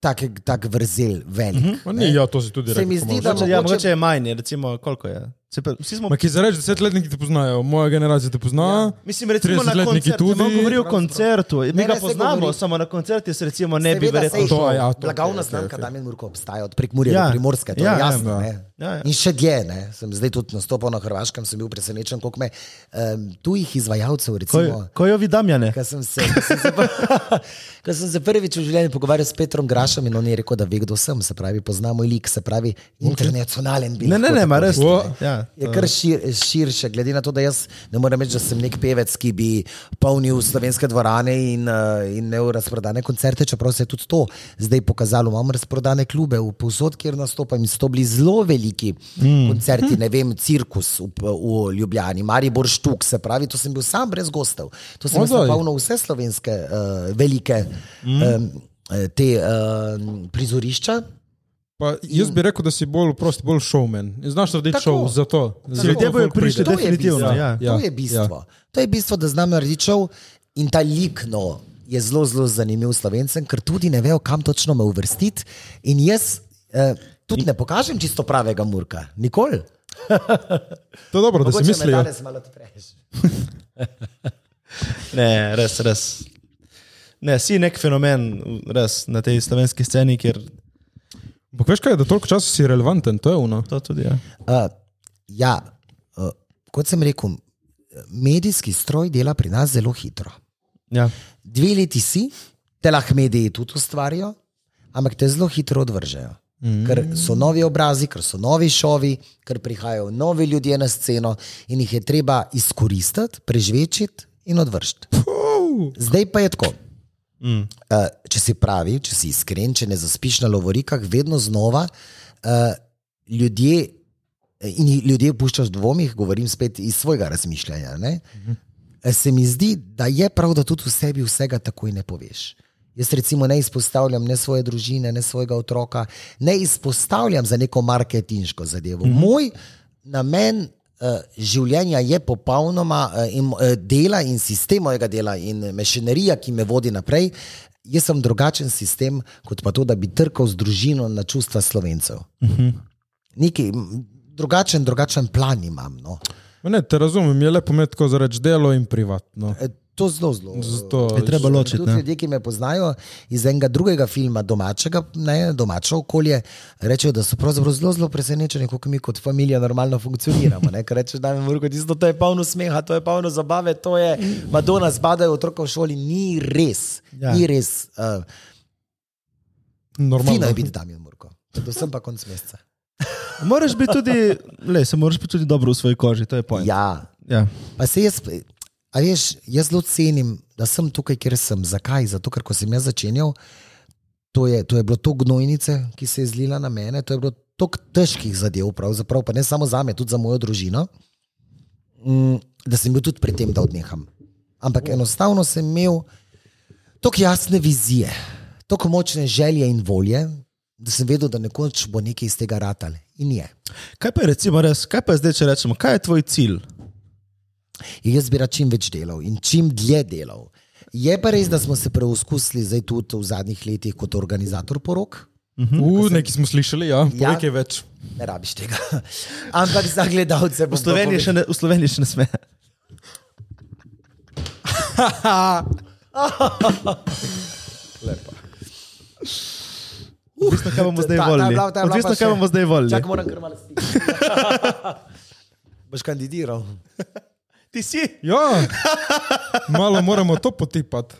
[SPEAKER 2] tak, tak vrzel velik.
[SPEAKER 4] Mhm.
[SPEAKER 2] Mm
[SPEAKER 1] Ma Ni, ja, to si tudi
[SPEAKER 2] Se mi
[SPEAKER 1] rekel. Tomaž.
[SPEAKER 2] zdi, da-
[SPEAKER 4] Mogoče, ja,
[SPEAKER 2] mogoče-
[SPEAKER 4] mogoče je manj, je, recimo koliko je. Se pa, vsi smo
[SPEAKER 1] Ma ki za reči, desetletniki te poznajo, moja generacija te pozna.
[SPEAKER 2] Ja.
[SPEAKER 4] Mislim, recimo na
[SPEAKER 1] 30-letniki
[SPEAKER 4] koncertu.
[SPEAKER 1] tudi.
[SPEAKER 4] Tudi... Ne govori o koncertu, mi
[SPEAKER 2] Ne,
[SPEAKER 4] ga
[SPEAKER 2] ne, saj
[SPEAKER 4] poznamo,
[SPEAKER 2] govori.
[SPEAKER 4] samo na koncertu se recimo ne bi verjetno
[SPEAKER 1] saj-
[SPEAKER 4] šel.
[SPEAKER 1] To, ja, to,
[SPEAKER 2] Blagovna
[SPEAKER 1] okej,
[SPEAKER 2] okay, znamka
[SPEAKER 1] okej,
[SPEAKER 2] okay,
[SPEAKER 1] okej.
[SPEAKER 2] Damien Murko obstaja od prekmurja
[SPEAKER 4] Ja.
[SPEAKER 2] ja. do primorske, to
[SPEAKER 4] Ja,
[SPEAKER 2] ja,
[SPEAKER 4] ja,
[SPEAKER 2] je jasno.
[SPEAKER 4] ja.
[SPEAKER 2] Ja,
[SPEAKER 4] Ja, ja.
[SPEAKER 2] In še dlje, ne. sem zdaj tudi nastopal na Hrvaškem, sem bil presenečen, koliko me um, tujih izvajalcev, recimo.
[SPEAKER 4] Ko, ko jo vidim, ja ne.
[SPEAKER 2] Ko sem, se, ko, sem se, pr- ko sem se prvič v življenju pogovarjal s Petrom Grašem, in on je rekel, da ve, kdo sem, se pravi, poznamo lik, se pravi, internacionalen bi.
[SPEAKER 4] Ne, ne,
[SPEAKER 2] lahko
[SPEAKER 4] ne,
[SPEAKER 2] tako
[SPEAKER 4] ma res.
[SPEAKER 1] Wo-
[SPEAKER 4] ne. Ja,
[SPEAKER 2] Je
[SPEAKER 4] to-
[SPEAKER 2] kar šir, širše, glede na to, da jaz ne morem reči, da sem nek pevec, ki bi polnil slovenske dvorane in, eh, in imel razprodane koncerte, čeprav se je tudi to zdaj pokazalo. Imam razprodane klube, v povsod, kjer nastopam, in so to bili zelo veliki mm. koncerti, ne vem, cirkus v, v Ljubljani, Maribor Štuk, se pravi, to sem bil sam brez gostov. To sem jaz
[SPEAKER 1] Odoj.
[SPEAKER 2] napolnil vse slovenske uh, velike mm. um, te uh, prizorišča.
[SPEAKER 1] Pa jaz bi rekel, da si bolj prost, bolj showman. In Znaš narediti
[SPEAKER 2] Tako.
[SPEAKER 1] šov za to. Zato
[SPEAKER 4] ljudje bojo
[SPEAKER 1] folk pride.
[SPEAKER 4] prišli,
[SPEAKER 2] To je
[SPEAKER 4] definitivno,
[SPEAKER 2] bistvo.
[SPEAKER 4] ja,
[SPEAKER 1] ja,
[SPEAKER 2] to je bistvo. To je bistvo, da znam narediti šov in ta likno je zelo, zelo zanimiv slovencem, ker tudi ne vejo, kam točno me uvrstiti. In jaz eh, tudi ne pokažem čisto pravega murka, nikoli.
[SPEAKER 1] To je dobro, da si
[SPEAKER 2] Mogoče me
[SPEAKER 1] mislijo.
[SPEAKER 2] danes malo odpreš.
[SPEAKER 4] Ne, res, res. Ne, si nek fenomen, res na tej slovenski sceni, kjer
[SPEAKER 1] Ampak veš kaj, da toliko časa si relevanten, to je ono.
[SPEAKER 4] to tudi je. Ja.
[SPEAKER 2] Uh, ja, uh, kot sem rekel, medijski stroj dela pri nas zelo hitro.
[SPEAKER 4] Ja.
[SPEAKER 2] Dve leti si, te lahko mediji tudi ustvarijo, ampak te zelo hitro odvržejo. Mm. Ker so novi obrazi, ker so novi šovi, ker prihajajo novi ljudje na sceno in jih je treba izkoristiti, prežvečiti in odvršiti. Zdaj pa je tako.
[SPEAKER 4] Mm.
[SPEAKER 2] Uh, če si pravi, če si iskren, če ne zaspiš na lovorikah, vedno znova uh, ljudje. eh, In jih ljudje puščaš v dvomih, govorim spet iz svojega razmišljanja. Ne? Eh, Se mi zdi, da je prav, da tudi v sebi vsega takoj ne poveš. Jaz recimo ne izpostavljam ne svoje družine, ne svojega otroka, ne izpostavljam za neko marketinško zadevo. Mm -hmm. Moj namen uh, življenja je popolnoma uh, in, uh, dela in sistem mojega dela in mašinerija, ki me vodi naprej. Jaz sem drugačen sistem, kot pa to, da bi trkal z družino na čustva slovencev. Mm -hmm. Neki drugačen, drugačen plan imam. No.
[SPEAKER 1] Ma Ne, te razumem, je lepo imeti tako za reči delo in privatno.
[SPEAKER 2] E, To zelo, zelo.
[SPEAKER 1] Zato,
[SPEAKER 4] Je treba ločiti.
[SPEAKER 2] Tudi
[SPEAKER 4] ne.
[SPEAKER 2] ljudje, ki me poznajo iz enega drugega filma, domačega, ne, domače okolje, rečejo, da so pravzaprav zelo, zelo presenečeni, kako mi kot familija normalno funkcioniramo. Ne, ker rečeš, da je vrko, tisto to je polno smeha, to je polno zabave, to je Madonna, spadajo otroka v šoli, ni res.
[SPEAKER 4] Ja.
[SPEAKER 2] Ja. Ni res. Uh,
[SPEAKER 1] normalno.
[SPEAKER 2] fino je biti tam in murko. Predvsem pa konc meseca.
[SPEAKER 4] Moraš biti tudi, le, se moraš biti tudi dobro v svoji koži, to je point.
[SPEAKER 2] Ja,
[SPEAKER 4] Ja.
[SPEAKER 2] Pa se jaz, a veš, jaz zelo cenim, da sem tukaj, kjer sem. Zakaj? Zato, ker ko sem jaz začenjal, to je, to je bilo to gnojnice, ki se je zlila na mene, to je bilo toliko težkih zadev, pravzaprav, pa ne samo za me, tudi za mojo družino. mm, da sem bil tudi pri tem, da odneham. Ampak enostavno sem imel tako jasne vizije, tako močne želje in volje, da sem vedel, da nekoč bo nekaj iz tega ratale. In je.
[SPEAKER 4] Kaj pa je recimo res, kaj pa je zdaj, če rečemo, kaj je tvoj cilj?
[SPEAKER 2] In jaz bi rad čim več delal in čim dlje delal. Je pa res, da smo se preuskusili zdaj tudi v zadnjih letih kot organizator porok.
[SPEAKER 1] Uh, nekaj smo slišali, ja,
[SPEAKER 2] Ja.
[SPEAKER 1] nekaj več.
[SPEAKER 2] Ne rabiš tega. Ampak za gledalce bo
[SPEAKER 4] V Sloveniji še ne, v Sloveniji še ne sme. Odvisno, kaj bomo zdaj volili. Odvisno, kaj bomo zdaj volili.
[SPEAKER 2] Čak, moram kar malo spiti. Boš kandidiral.
[SPEAKER 4] Ti si?
[SPEAKER 1] Ja, malo moramo to potipati.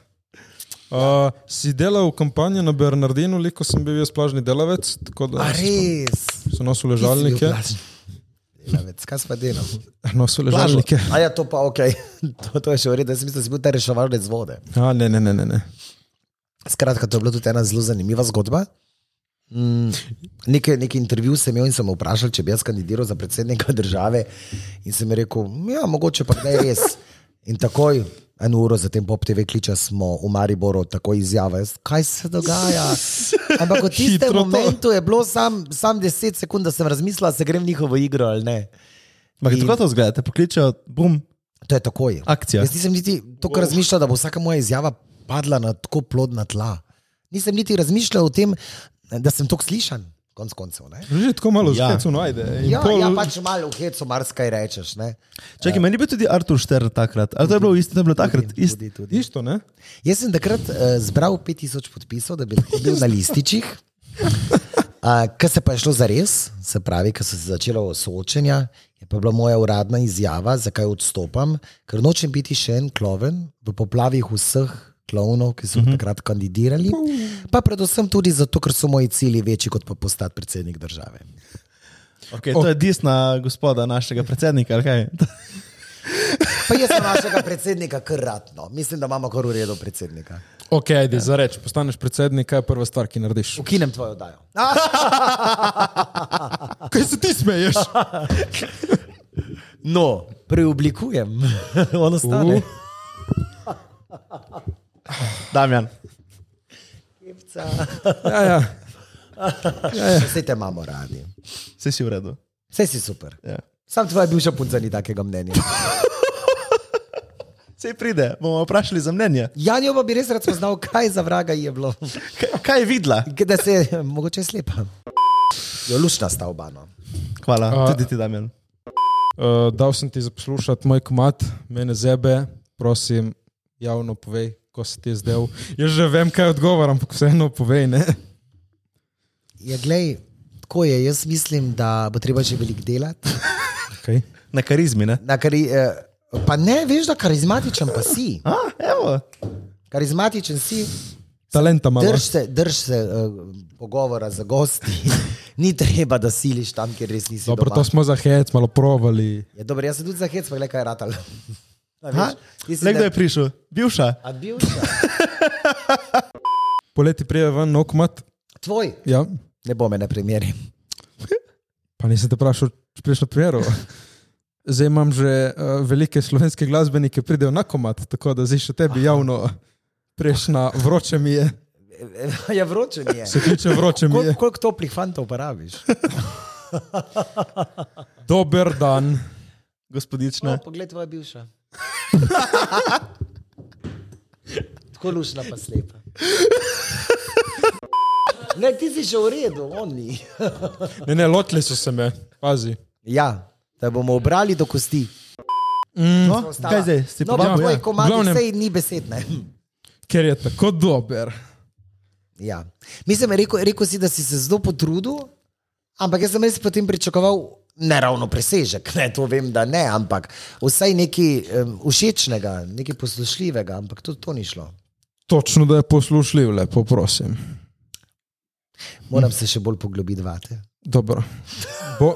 [SPEAKER 1] Uh, si delal kampanjo na Bernardinu, liko sem bil jaz plažni delavec, tako da
[SPEAKER 2] A res.
[SPEAKER 1] so nosili ležalnike.
[SPEAKER 2] Delavec, kaj si pa delal?
[SPEAKER 1] Nosili ležalnike.
[SPEAKER 2] A ja, to pa ok, to, to je še v redu, jaz sem mislil, da si bil ta reševalec vode.
[SPEAKER 1] A, ne, ne, ne, ne, ne.
[SPEAKER 2] Skratka, to je bila tudi ena zelo zanimiva zgodba. Mm, Nekaj nek intervju sem imel in sem ga vprašal, če bi jaz kandidiral za predsednika države. In sem jim rekel, ja, mogoče pa kdaj res. In takoj, eno uro zatem po TV kliče smo v Mariboru, tako izjava, jaz, kaj se dogaja. Ampak
[SPEAKER 1] Hitro
[SPEAKER 2] v tistem
[SPEAKER 1] to.
[SPEAKER 2] momentu je bilo sam, sam 10 sekund, da sem razmislil, ali se grem v njihovo igro ali ne.
[SPEAKER 4] Ma, kako to zgleda? Te pokličejo, bum,
[SPEAKER 2] To je takoj.
[SPEAKER 4] Akcija.
[SPEAKER 2] Jaz nisem niti toliko razmišljal, da bo vsaka moja izjava padla na tako plodna tla. Nisem niti razmišljal o tem, da sem tako slišan, konc koncev. Ne?
[SPEAKER 1] Že tako malo
[SPEAKER 4] Ja.
[SPEAKER 1] ja. zgledno najde. in
[SPEAKER 2] Ja,
[SPEAKER 1] pol-
[SPEAKER 2] ja, pač malo v hecu marsikaj rečeš. Ne?
[SPEAKER 4] Čakaj, meni je bil tudi Artur Štern takrat. Ali to je bilo isto, to je bilo takrat isto.
[SPEAKER 2] Tudi, tudi.
[SPEAKER 1] Isto, ne?
[SPEAKER 2] Jaz sem takrat uh, zbral 5000 podpisov, da bi lahko bil na lističih. Uh, Kar se pa je šlo za res, se pravi, ko so se začela soočenja, je pa bila moja uradna izjava, zakaj odstopam, ker nočem biti še en kloven v poplavih vseh klovnov, ki so uh -huh. takrat kandidirali. Pa predvsem tudi zato, ker so moji cilji večji kot pa postati predsednik države.
[SPEAKER 4] Okay, to je desna gospoda našega predsednika, ali kaj?
[SPEAKER 2] Pa jaz sem našega predsednika kar ratno, mislim, da imamo kar uredo predsednika.
[SPEAKER 1] Ok,
[SPEAKER 2] Ja.
[SPEAKER 1] ajde, za reč, postaneš predsednik, kaj je prva stvar, ki narediš?
[SPEAKER 2] Ukinem tvojo dajo.
[SPEAKER 1] Kaj se ti smeješ?
[SPEAKER 2] No, preoblikujem, ono stane.
[SPEAKER 1] Uh.
[SPEAKER 2] Uh.
[SPEAKER 4] Damjan.
[SPEAKER 1] Ja, ja.
[SPEAKER 2] Vse te imamo radi,
[SPEAKER 4] Vse si v redu.
[SPEAKER 2] vse si super.
[SPEAKER 4] Ja.
[SPEAKER 2] Sam tvoja bivša punca ni takega mnenja.
[SPEAKER 4] Sej pride, bomo vprašali za mnenje.
[SPEAKER 2] Janjo pa bi res rad spoznal, kaj za vraga ji je bilo.
[SPEAKER 4] Kaj, kaj je videla?
[SPEAKER 2] Kaj Da se je mogoče je slepa. Jo lušna sta no. obano.
[SPEAKER 4] Hvala,
[SPEAKER 1] A-
[SPEAKER 4] uh, tudi ti, Damjan.
[SPEAKER 1] Uh, dal sem ti za poslušati moj komat, mene zebe, prosim, javno povej, ko se ti je zdel. Jaz že vem, kaj odgovarjam, ampak vseeno povej, ne?
[SPEAKER 2] Ja, glej, tako je. Jaz mislim, da bo treba še veliko delati.
[SPEAKER 1] Okay.
[SPEAKER 4] Na karizmi, ne?
[SPEAKER 2] Na Kari, eh, pa ne, veš, da karizmatičen pa si.
[SPEAKER 4] A, evo.
[SPEAKER 2] Karizmatičen si.
[SPEAKER 1] Talenta malo.
[SPEAKER 2] Drž se, drž se uh, pogovora za gosti. Ni treba, da siliš tam, kjer res nisi.
[SPEAKER 1] Dobro,
[SPEAKER 2] doma.
[SPEAKER 1] to smo za hec, malo provali.
[SPEAKER 2] Je dobro, jaz sem tudi za hec, pa glej, kaj je ratal.
[SPEAKER 4] Ha? Le kdo je prišel? Bivša.
[SPEAKER 2] A bil si?
[SPEAKER 1] Poleti prije ven nov komat,
[SPEAKER 2] Tvoj.
[SPEAKER 1] ja.
[SPEAKER 2] Ne bo me na primeri.
[SPEAKER 1] pa nisem te vprašal, če priješ na primeru. Zdaj imam že uh, velike slovenske glasbenike, pridejo na komat, tako da zdaj še tebi javno priješ na vroče mi je,
[SPEAKER 2] Ja, vroče mi je.
[SPEAKER 1] se kliče vroče mi
[SPEAKER 2] Kol,
[SPEAKER 1] je.
[SPEAKER 2] koliko toplih fantov uporabiš?
[SPEAKER 1] Dober dan.
[SPEAKER 4] Gospodična.
[SPEAKER 2] No, Poglej, tvoja bivša. Tako lušna pa slepa. Ne, ti si že v redu, oni.
[SPEAKER 1] Ne, ne, lotili so se me, pazi.
[SPEAKER 2] Ja, da bomo obrali do kosti.
[SPEAKER 4] No, kaj zdaj? Si
[SPEAKER 2] No,
[SPEAKER 4] pobabil,
[SPEAKER 2] pa tvoj
[SPEAKER 4] ja.
[SPEAKER 2] komad
[SPEAKER 1] Glavnem-
[SPEAKER 2] vsej ni besedne.
[SPEAKER 1] Ker je tako dober.
[SPEAKER 2] Ja. Mislim, rekel, rekel si, da si se zelo potrudil, ampak jaz sem res potem pričakoval ne ravno presežek. Ne, to vem, da ne, ampak vsaj nekaj um, všečnega, nekaj poslušljivega, ampak tudi to ni šlo.
[SPEAKER 1] Točno, da je poslušljiv, lepo prosim.
[SPEAKER 2] Moram se še bolj poglobiti vate.
[SPEAKER 1] Dobro.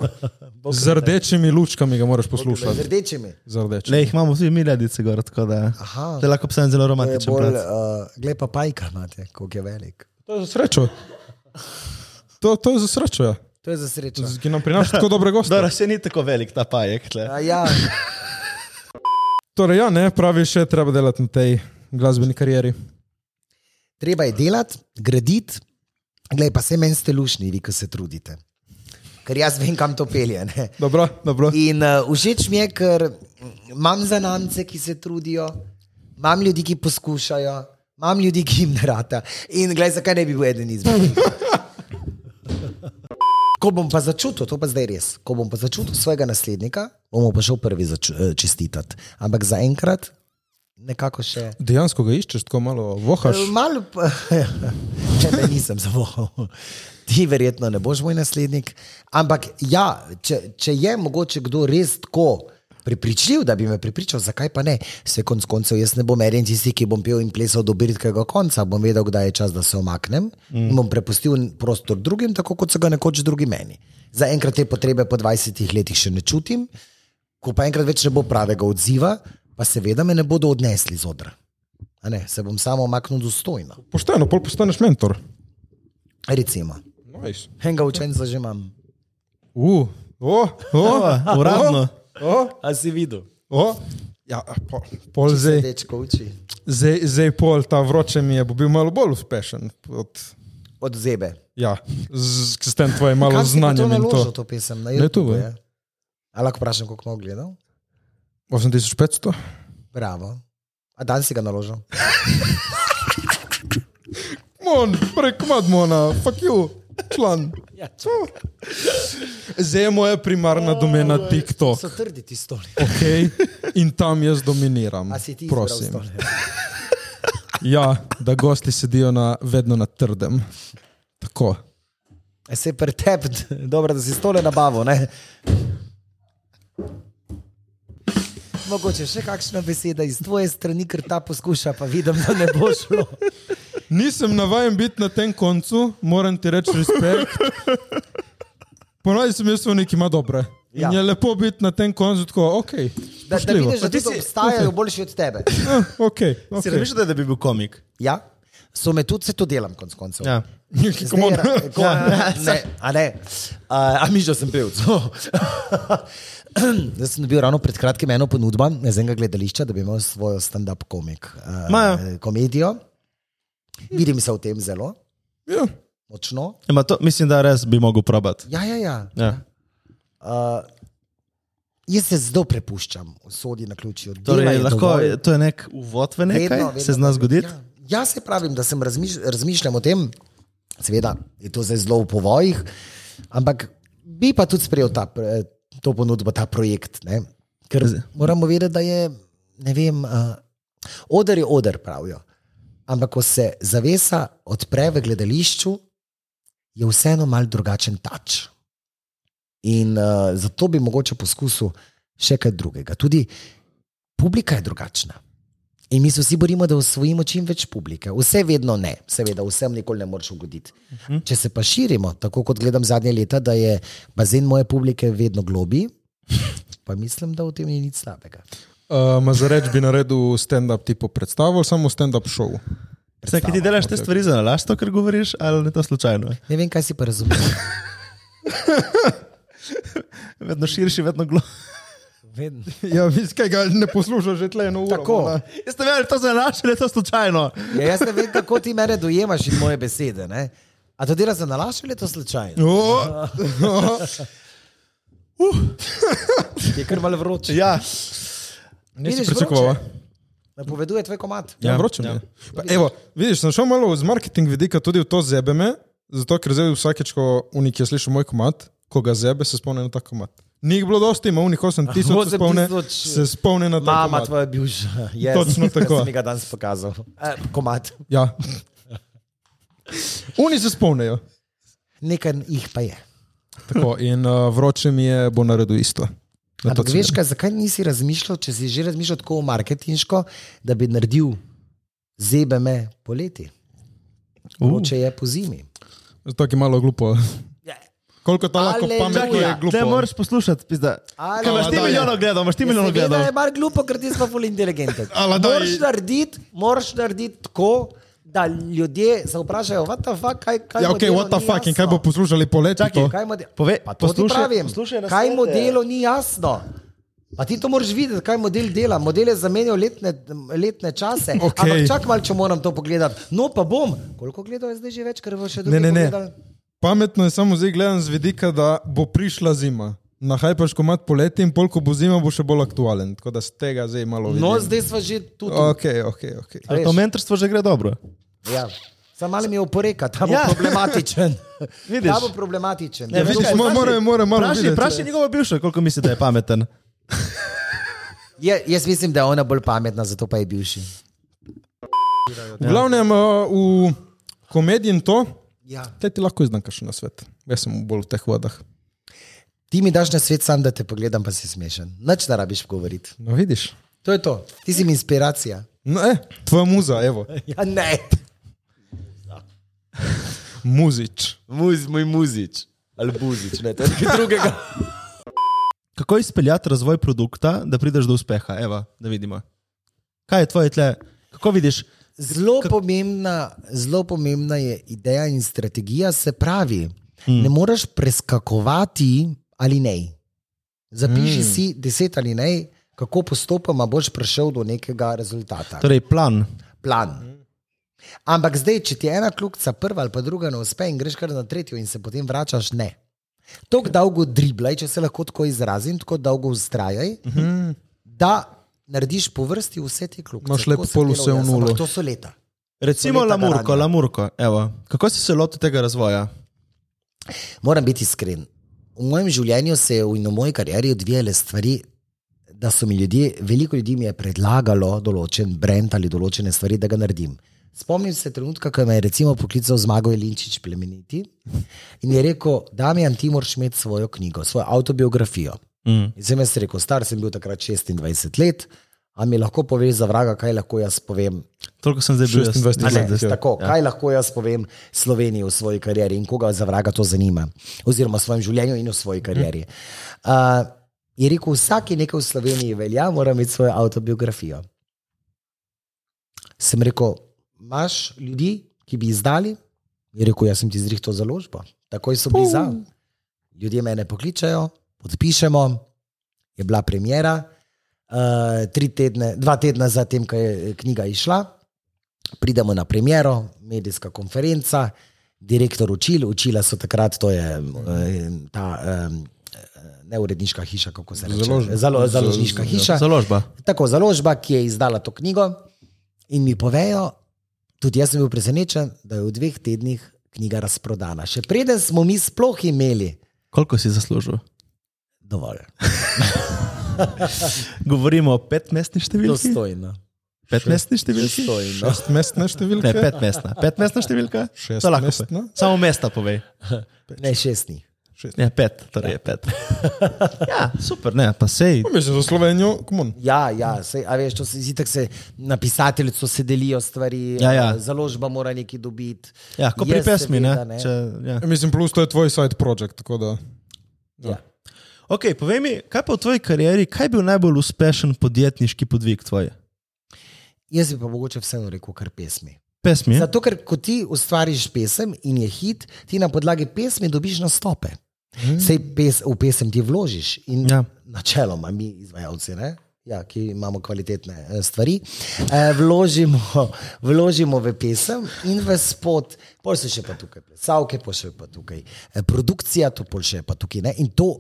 [SPEAKER 1] Bo, z rdečimi lučkami ga moraš
[SPEAKER 2] Z
[SPEAKER 1] poslušati.
[SPEAKER 2] rdečimi.
[SPEAKER 1] Z rdečimi.
[SPEAKER 4] Le jih imamo tudi mi ledice gor, tako da.
[SPEAKER 2] Aha.
[SPEAKER 4] Te lahko psa
[SPEAKER 2] To
[SPEAKER 4] zelo
[SPEAKER 2] je
[SPEAKER 4] romantičen.
[SPEAKER 2] Bolj,
[SPEAKER 4] brat.
[SPEAKER 2] uh, glej pa pajka, imate, koliko je velik.
[SPEAKER 1] To je za srečo. To, to je za srečo. Ja.
[SPEAKER 2] To je za srečo.
[SPEAKER 1] Z- Ki nam prinaša tako dobre goste.
[SPEAKER 4] Dobro, še ni tako velik ta pajek. Tle.
[SPEAKER 2] A Ja,
[SPEAKER 1] Torej, ja, ne, pravi, še treba delati na tej glasbeni karieri.
[SPEAKER 2] Treba je delati, graditi, gledaj pa se meni ste lušni, vi, ki se trudite. Ker jaz vem, kam to pelje. Ne?
[SPEAKER 1] Dobro, dobro.
[SPEAKER 2] In uh, všeč mi je, ker imam zanamce, ki se trudijo, imam ljudi, ki poskušajo, imam ljudi, ki jim ne rata. In gledaj, zakaj ne bi bil eden izmed njih. Ko bom pa začutil, to pa zdaj res, ko bom pa začutil svojega naslednika, bom mu pa šel prvi začu- eh, čestitati. Ampak zaenkrat nekako še.
[SPEAKER 1] Dejansko ga iščeš, tako malo vohaš.
[SPEAKER 2] Eh, Malo, pa- če te nisem zavohal. Ti verjetno ne boš moj naslednik. Ampak ja, če, če je mogoče kdo res tako pripričljiv, da bi me pripričal, zakaj pa ne. Vse konc koncev jaz ne bom eden tisti, ki bom pel in plesal do britkega konca, bom vedel, kdaj je čas, da se omaknem mm. in bom prepustil prostor drugim, tako kot so ga nekoč drugi meni. Zaenkrat te potrebe po 20 letih še ne čutim, ko pa enkrat več ne bo pravega odziva, pa seveda me ne bodo odnesli z odra. A Ne, se bom samo omaknil dostojno.
[SPEAKER 1] Pošteno, pol postaneš mentor.
[SPEAKER 2] Recimo,
[SPEAKER 1] Nice.
[SPEAKER 2] enega učenca že imam.
[SPEAKER 1] Uh, o,
[SPEAKER 4] No,
[SPEAKER 1] o,
[SPEAKER 4] Uradno.
[SPEAKER 1] o,
[SPEAKER 2] A si videl?
[SPEAKER 1] o. Ja, pol, pol zdaj.
[SPEAKER 2] Dečko uči.
[SPEAKER 1] Zdaj, zdaj pol ta vroče mi je bo bil malo bolj uspešen. Od,
[SPEAKER 2] Od zebe.
[SPEAKER 1] ja, z, s tem tvojim malo
[SPEAKER 2] Kam si pa
[SPEAKER 1] znanjem
[SPEAKER 2] to
[SPEAKER 1] in
[SPEAKER 2] naložil,
[SPEAKER 1] to.
[SPEAKER 2] to pesem na
[SPEAKER 1] Na YouTubeu
[SPEAKER 2] YouTube?
[SPEAKER 1] je.
[SPEAKER 2] je? A lahko vprašam, koliko smo gledal?
[SPEAKER 1] 8500?
[SPEAKER 2] Bravo. A dan si ga naložil?
[SPEAKER 1] Mon, prek Madmona, fuck you, član.
[SPEAKER 2] Ja,
[SPEAKER 1] Zdaj je moja primarna domena TikTok.
[SPEAKER 2] So trdi ti stoli.
[SPEAKER 1] Okay? In tam jaz dominiram.
[SPEAKER 2] A si ti izbral
[SPEAKER 1] Prosim.
[SPEAKER 2] stole?
[SPEAKER 1] Ja, da gosti sedijo na, vedno na trdem. Tako.
[SPEAKER 2] E, Se pri tebi, dobro, da si stole nabavil, ne? Mogoče še kakšna beseda iz tvoje strani, ker ta poskuša, pa vidim, da ne bo šlo.
[SPEAKER 1] Nisem navaden biti na tem koncu, moram ti reči respekt. Ponovadi sem jaz v neki ima dobre. Ja.
[SPEAKER 2] Ja.
[SPEAKER 1] In je lepo biti na tem koncu, tako, ok.
[SPEAKER 2] Da, da
[SPEAKER 1] spoštljivo.
[SPEAKER 2] vidiš, da
[SPEAKER 4] Pa ti
[SPEAKER 2] tudi
[SPEAKER 4] si-
[SPEAKER 2] obstajajo boljši od tebe.
[SPEAKER 1] Eh, okay,
[SPEAKER 4] Si
[SPEAKER 1] okay.
[SPEAKER 4] razmišljate, da bi bil komik?
[SPEAKER 2] Ja, so me tudi, se to delam, konc koncev.
[SPEAKER 4] Ja.
[SPEAKER 2] Zdaj je ra- ko-
[SPEAKER 4] Ja.
[SPEAKER 2] Ne, a ne. A, a miš, da sem pevc. Jaz sem dobil ravno pred kratkim eno ponudbo iz enega gledališča, da bi imel svojo stand-up komik, eh,
[SPEAKER 4] Imajo.
[SPEAKER 2] komedijo. Vidim se v tem zelo
[SPEAKER 1] Ja.
[SPEAKER 2] močno.
[SPEAKER 4] Ema, Ja, to, mislim, da res bi mogel probati.
[SPEAKER 2] Ja, ja, ja.
[SPEAKER 4] Ja.
[SPEAKER 2] Uh, jaz se zelo prepuščam, sodi na ključju. Dela
[SPEAKER 4] Torej,
[SPEAKER 2] je
[SPEAKER 4] lahko,
[SPEAKER 2] dovolj.
[SPEAKER 4] to je nek uvod v nekaj, vedno, vedno, se zna zgoditi.
[SPEAKER 2] Ja, ja, se pravim, da sem razmiš, razmišljam o tem, seveda je to zdaj zelo v povojih, ampak bi pa tudi sprejel ta, pre- to ponudbo, ta projekt. Ne? Ker moramo vedeti, da je, ne vem, uh, odr je odr, pravijo. Ampak ko se zavesa odpre v gledališču, je vseeno mal drugačen tač. In uh, zato bi mogoče poskusil še kaj drugega. Tudi publika je drugačna. In mi se vsi borimo, da osvojimo čim več publike. Vse vedno ne, seveda, vsem nikoli ne moreš ugoditi.
[SPEAKER 1] Mhm.
[SPEAKER 2] Če se pa širimo, tako kot gledam zadnje leta, da je bazen moje publike vedno globji, pa mislim, da v tem ni nič slabega.
[SPEAKER 1] Uh, ma za reč bi naredil stand-up tipo predstavo, ali samo stand-up show.
[SPEAKER 4] Vse, ki ti delaš te stvari za nalašč, to, kar govoriš, ali ne to slučajno?
[SPEAKER 2] Ne vem, kaj si pa razumel.
[SPEAKER 4] Vedno širši, vedno globši.
[SPEAKER 2] Vedno.
[SPEAKER 1] Ja, vidiš, kaj ga ne poslušaš že tle eno uro.
[SPEAKER 2] Tako.
[SPEAKER 1] mona.
[SPEAKER 4] Jaz ne vem, ali je to za nalašč ali je to slučajno.
[SPEAKER 2] Ja, jaz ne vem, kako ti mene dojemaš in moje besede. Ne? A to delaš za nalašč ali je to slučajno?
[SPEAKER 1] O, No.
[SPEAKER 2] Je kar malo vroče.
[SPEAKER 4] Ja,
[SPEAKER 1] Nisi
[SPEAKER 2] Vidiš,
[SPEAKER 1] pričakoval.
[SPEAKER 2] vroče. Napoveduje tvoj komat.
[SPEAKER 1] Ja, vroče mi je. Pa Evo, vidiš, sem šel malo z marketing vidika tudi v to zebeme, zato ker zdaj vsakeč, ko unik je slišal moj komat, ko ga zebe, se spomni na ta komat. Njih bilo dosti, ima unik 8000, se
[SPEAKER 2] 8000,
[SPEAKER 1] spomni, se spomni na ta
[SPEAKER 2] Mama
[SPEAKER 1] komat.
[SPEAKER 2] tvoja bivša. Yes,
[SPEAKER 1] Točno tako.
[SPEAKER 2] Si mi ga danes pokazal. Eh, komat.
[SPEAKER 1] Ja. Oni se spomnijo.
[SPEAKER 2] Nekaj jih pa je.
[SPEAKER 1] Tako, in uh, vroče mi je, bo naredil isto. Na No, to
[SPEAKER 2] Ampak veš,
[SPEAKER 1] ciljam.
[SPEAKER 2] kaj, zakaj nisi razmišljal, če si že razmišljal tako o marketinško, da bi naredil zebe me poleti, uh. če je po zimi.
[SPEAKER 1] Zato je malo glupo.
[SPEAKER 4] Ja.
[SPEAKER 1] Koliko ta lahko
[SPEAKER 2] Aleluja.
[SPEAKER 1] pametno je glupo.
[SPEAKER 4] ne moreš poslušati, pizda.
[SPEAKER 2] Ali-
[SPEAKER 4] Ker imaš ti
[SPEAKER 1] Aleluja.
[SPEAKER 4] milijon ogledov, imaš ti milijon
[SPEAKER 2] Ja, Seveda
[SPEAKER 4] ogledov.
[SPEAKER 2] je mar glupo, ker ti smo ful inteligentni.
[SPEAKER 1] Ala daj.
[SPEAKER 2] Moraš narediti, moraš narediti tako, da ljudje se vprašajo, what the fuck, kaj, kaj
[SPEAKER 1] Ja, ok,
[SPEAKER 2] modelu
[SPEAKER 1] what the
[SPEAKER 2] ni
[SPEAKER 1] fuck, in kaj
[SPEAKER 2] jasno?"
[SPEAKER 1] bo poslušali poleti?
[SPEAKER 4] Čakaj,
[SPEAKER 1] to?
[SPEAKER 2] Kaj model...
[SPEAKER 4] Povej,
[SPEAKER 2] pa to
[SPEAKER 4] poslušaj-
[SPEAKER 2] poslušaj, ti pravim,
[SPEAKER 4] poslušaj nasvete.
[SPEAKER 2] kaj modelu ni jasno. Pa ti to moraš videti, kaj model dela. Model je zamenjal letne, letne čase.
[SPEAKER 1] Okej.
[SPEAKER 2] Ampak čak malo, če moram to pogledati. No, pa bom. Koliko gledal je zdaj že več, ker bo še
[SPEAKER 1] Ne,
[SPEAKER 2] drugi
[SPEAKER 1] ne, ne.
[SPEAKER 2] pogledali?
[SPEAKER 1] Pametno je samo zdaj gledam z vidika, da bo prišla zima. Na hajpaš komat poleti in pol, ko bo zima, bo še bolj aktualen. Tako da z tega zdaj malo vidim.
[SPEAKER 2] No, zdaj smo že tu.
[SPEAKER 1] Ok, ok, ok.
[SPEAKER 2] Veš.
[SPEAKER 4] To mentorstvo že gre dobro.
[SPEAKER 2] Ja. Sam malo mi je oporeka, ta bo
[SPEAKER 4] Ja.
[SPEAKER 2] ja. problematičen.
[SPEAKER 4] Vidiš.
[SPEAKER 2] ta bo problematičen.
[SPEAKER 4] Ne,
[SPEAKER 2] Ja,
[SPEAKER 1] vidiš,
[SPEAKER 4] veš kaj,
[SPEAKER 1] mo-
[SPEAKER 4] vprašaj-
[SPEAKER 1] moram- moram malo
[SPEAKER 4] Vprašaj,
[SPEAKER 1] videti. Ja.
[SPEAKER 4] vprašaj njegovo bivšo, koliko misli, da je pameten.
[SPEAKER 2] Ja, jaz mislim, da je ona bolj pametna, zato pa je bivši.
[SPEAKER 4] Ja.
[SPEAKER 1] V glavnem, eh, v komediji in to,
[SPEAKER 2] Ja.
[SPEAKER 1] te ti lahko izdam kakšen na svet. Jaz sem bolj v teh vodah.
[SPEAKER 2] Ti mi daš na svet, sam da te pogledam, pa si smešen. Noč ne rabiš govoriti.
[SPEAKER 1] No, vidiš.
[SPEAKER 2] To je to. Ti si mi inspiracija.
[SPEAKER 1] No, eh, tvoja muza, evo.
[SPEAKER 2] Ja, ne.
[SPEAKER 1] Muzič.
[SPEAKER 5] Muz, moj muzič. Ali buzič, ne, to je nekaj drugega.
[SPEAKER 4] Kako izpeljati razvoj produkta, da prideš do uspeha? Evo, da vidimo. Kaj je tvoje tle? Kako vidiš?
[SPEAKER 2] Zelo pomembna, zelo pomembna je ideja in strategija, se pravi, hmm. ne moreš preskakovati ali ne. Zapiši hmm. si deset ali ne, kako postopoma boš prišel do nekega rezultata.
[SPEAKER 4] Torej, plan.
[SPEAKER 1] Mhm.
[SPEAKER 2] plan. Ampak zdaj, če ti ena kljukca prva ali pa druga ne uspe in greš kar na tretjo in se potem vračaš, ne. Tako dolgo driblaj, če se lahko tako izrazim, tako dolgo ustrajaj, uh -huh. da narediš po vrsti vse te
[SPEAKER 1] Mhm.
[SPEAKER 2] kljukce.
[SPEAKER 1] Imaš lep
[SPEAKER 2] Tako sem
[SPEAKER 1] pol
[SPEAKER 2] delal
[SPEAKER 1] vse v
[SPEAKER 2] jaz, ampak
[SPEAKER 1] nulo.
[SPEAKER 2] To so leta.
[SPEAKER 4] Recimo
[SPEAKER 2] Soleta
[SPEAKER 4] Lamurko,
[SPEAKER 2] garanja.
[SPEAKER 4] Lamurko, evo. Kako si se lotil tega razvoja?
[SPEAKER 2] Moram biti iskren. V mojem življenju se je v- in v moji karieri odvijale stvari, da so mi ljudje, veliko ljudi mi je predlagalo določen brand ali določene stvari, da ga naredim. Spomnim se trenutka, ko me je recimo poklical Zmago Jelinčič Plemeniti in je rekel: Damjan, ti moraš imeti svojo knjigo, svojo avtobiografijo.
[SPEAKER 4] Mm.
[SPEAKER 2] In sem jaz rekel: Star sem bil takrat 26 let, a mi lahko poveš za vraga, kaj lahko jaz povem
[SPEAKER 4] Toliko sem zdaj bil jaz.
[SPEAKER 1] 26
[SPEAKER 2] A Ne,
[SPEAKER 1] Mislim, da-
[SPEAKER 2] tako, ja. Kaj lahko jaz povem Sloveniji v svoji karieri in koga za vraga to zanima, oziroma v svojem življenju in v svoji karieri. Uh, je rekel, vsak je nekaj v Sloveniji velja, mora imeti svojo avtobiografijo. Sem rekel, imaš ljudi, ki bi izdali? Je rekel, jaz sem ti zrihtal založbo. Takoj so bili za. Ljudje me ne pokličejo, podpišemo. Je bila premjera, uh, tri tedne, dva tedna zatem, ko je eh, knjiga izšla pridemo na premjero, medijska konferenca, direktor učil, učila so takrat, to je eh, ta em, ne uredniška hiša, kako se reče.
[SPEAKER 1] Založba.
[SPEAKER 2] Zalo,
[SPEAKER 4] ja.
[SPEAKER 2] založniška hiša.
[SPEAKER 4] Založba.
[SPEAKER 2] Tako ja. založba, ki je izdala to knjigo. In mi povejo, tudi jaz sem bil presenečen, da je v dveh tednih knjiga razprodana. Še preden smo mi sploh imeli
[SPEAKER 4] Koliko si zaslužil?
[SPEAKER 2] dovolj.
[SPEAKER 4] Govorimo o petmestni številki.
[SPEAKER 2] Dostojno.
[SPEAKER 4] Petmestni številki?
[SPEAKER 2] Dostojno.
[SPEAKER 1] Šest mestna številka?
[SPEAKER 4] Ne, petmestna. Petmestna številka?
[SPEAKER 1] Šest
[SPEAKER 4] To lahko
[SPEAKER 1] mestna?
[SPEAKER 4] pe- Samo mesta povej.
[SPEAKER 2] Ne šestnih.
[SPEAKER 4] Ne, pet, torej je pet. Ja, super, ne, pa sej.
[SPEAKER 1] Pa Mislim, za Slovenijo, komon.
[SPEAKER 2] Ja, ja sej, a veš, to se zdi, da se na pisateljcu se delijo stvari,
[SPEAKER 4] Ja, ja.
[SPEAKER 2] eh, založba mora nekaj dobiti.
[SPEAKER 4] Ja, ko pri
[SPEAKER 2] Jaz
[SPEAKER 4] pesmi,
[SPEAKER 2] seveda,
[SPEAKER 4] ne. Če, ja.
[SPEAKER 1] Mislim, plus to je tvoj side project, tako da.
[SPEAKER 2] Ja.
[SPEAKER 4] Ok, povej mi, kaj pa v tvoji karieri, kaj je bil najbolj uspešen podjetniški podvig tvoj?
[SPEAKER 2] Jaz bi pa mogoče vseeno rekel kar pesmi.
[SPEAKER 4] Pesmi?
[SPEAKER 2] Zato, ker ko ti ustvariš pesem in je hit, ti na podlagi pesmi dobiš nastope. Sej pes, v pesem ti vložiš in
[SPEAKER 4] Hmm. Ja.
[SPEAKER 2] ja. načeloma mi, izvajalci, ne? Ja, ki imamo kvalitetne eh, stvari, eh, vložimo, vložimo v pesem in v spot, pol so še pa tukaj, predstavke, pol še pa tukaj, eh, produkcija, to pol še pa tukaj. Ne? In to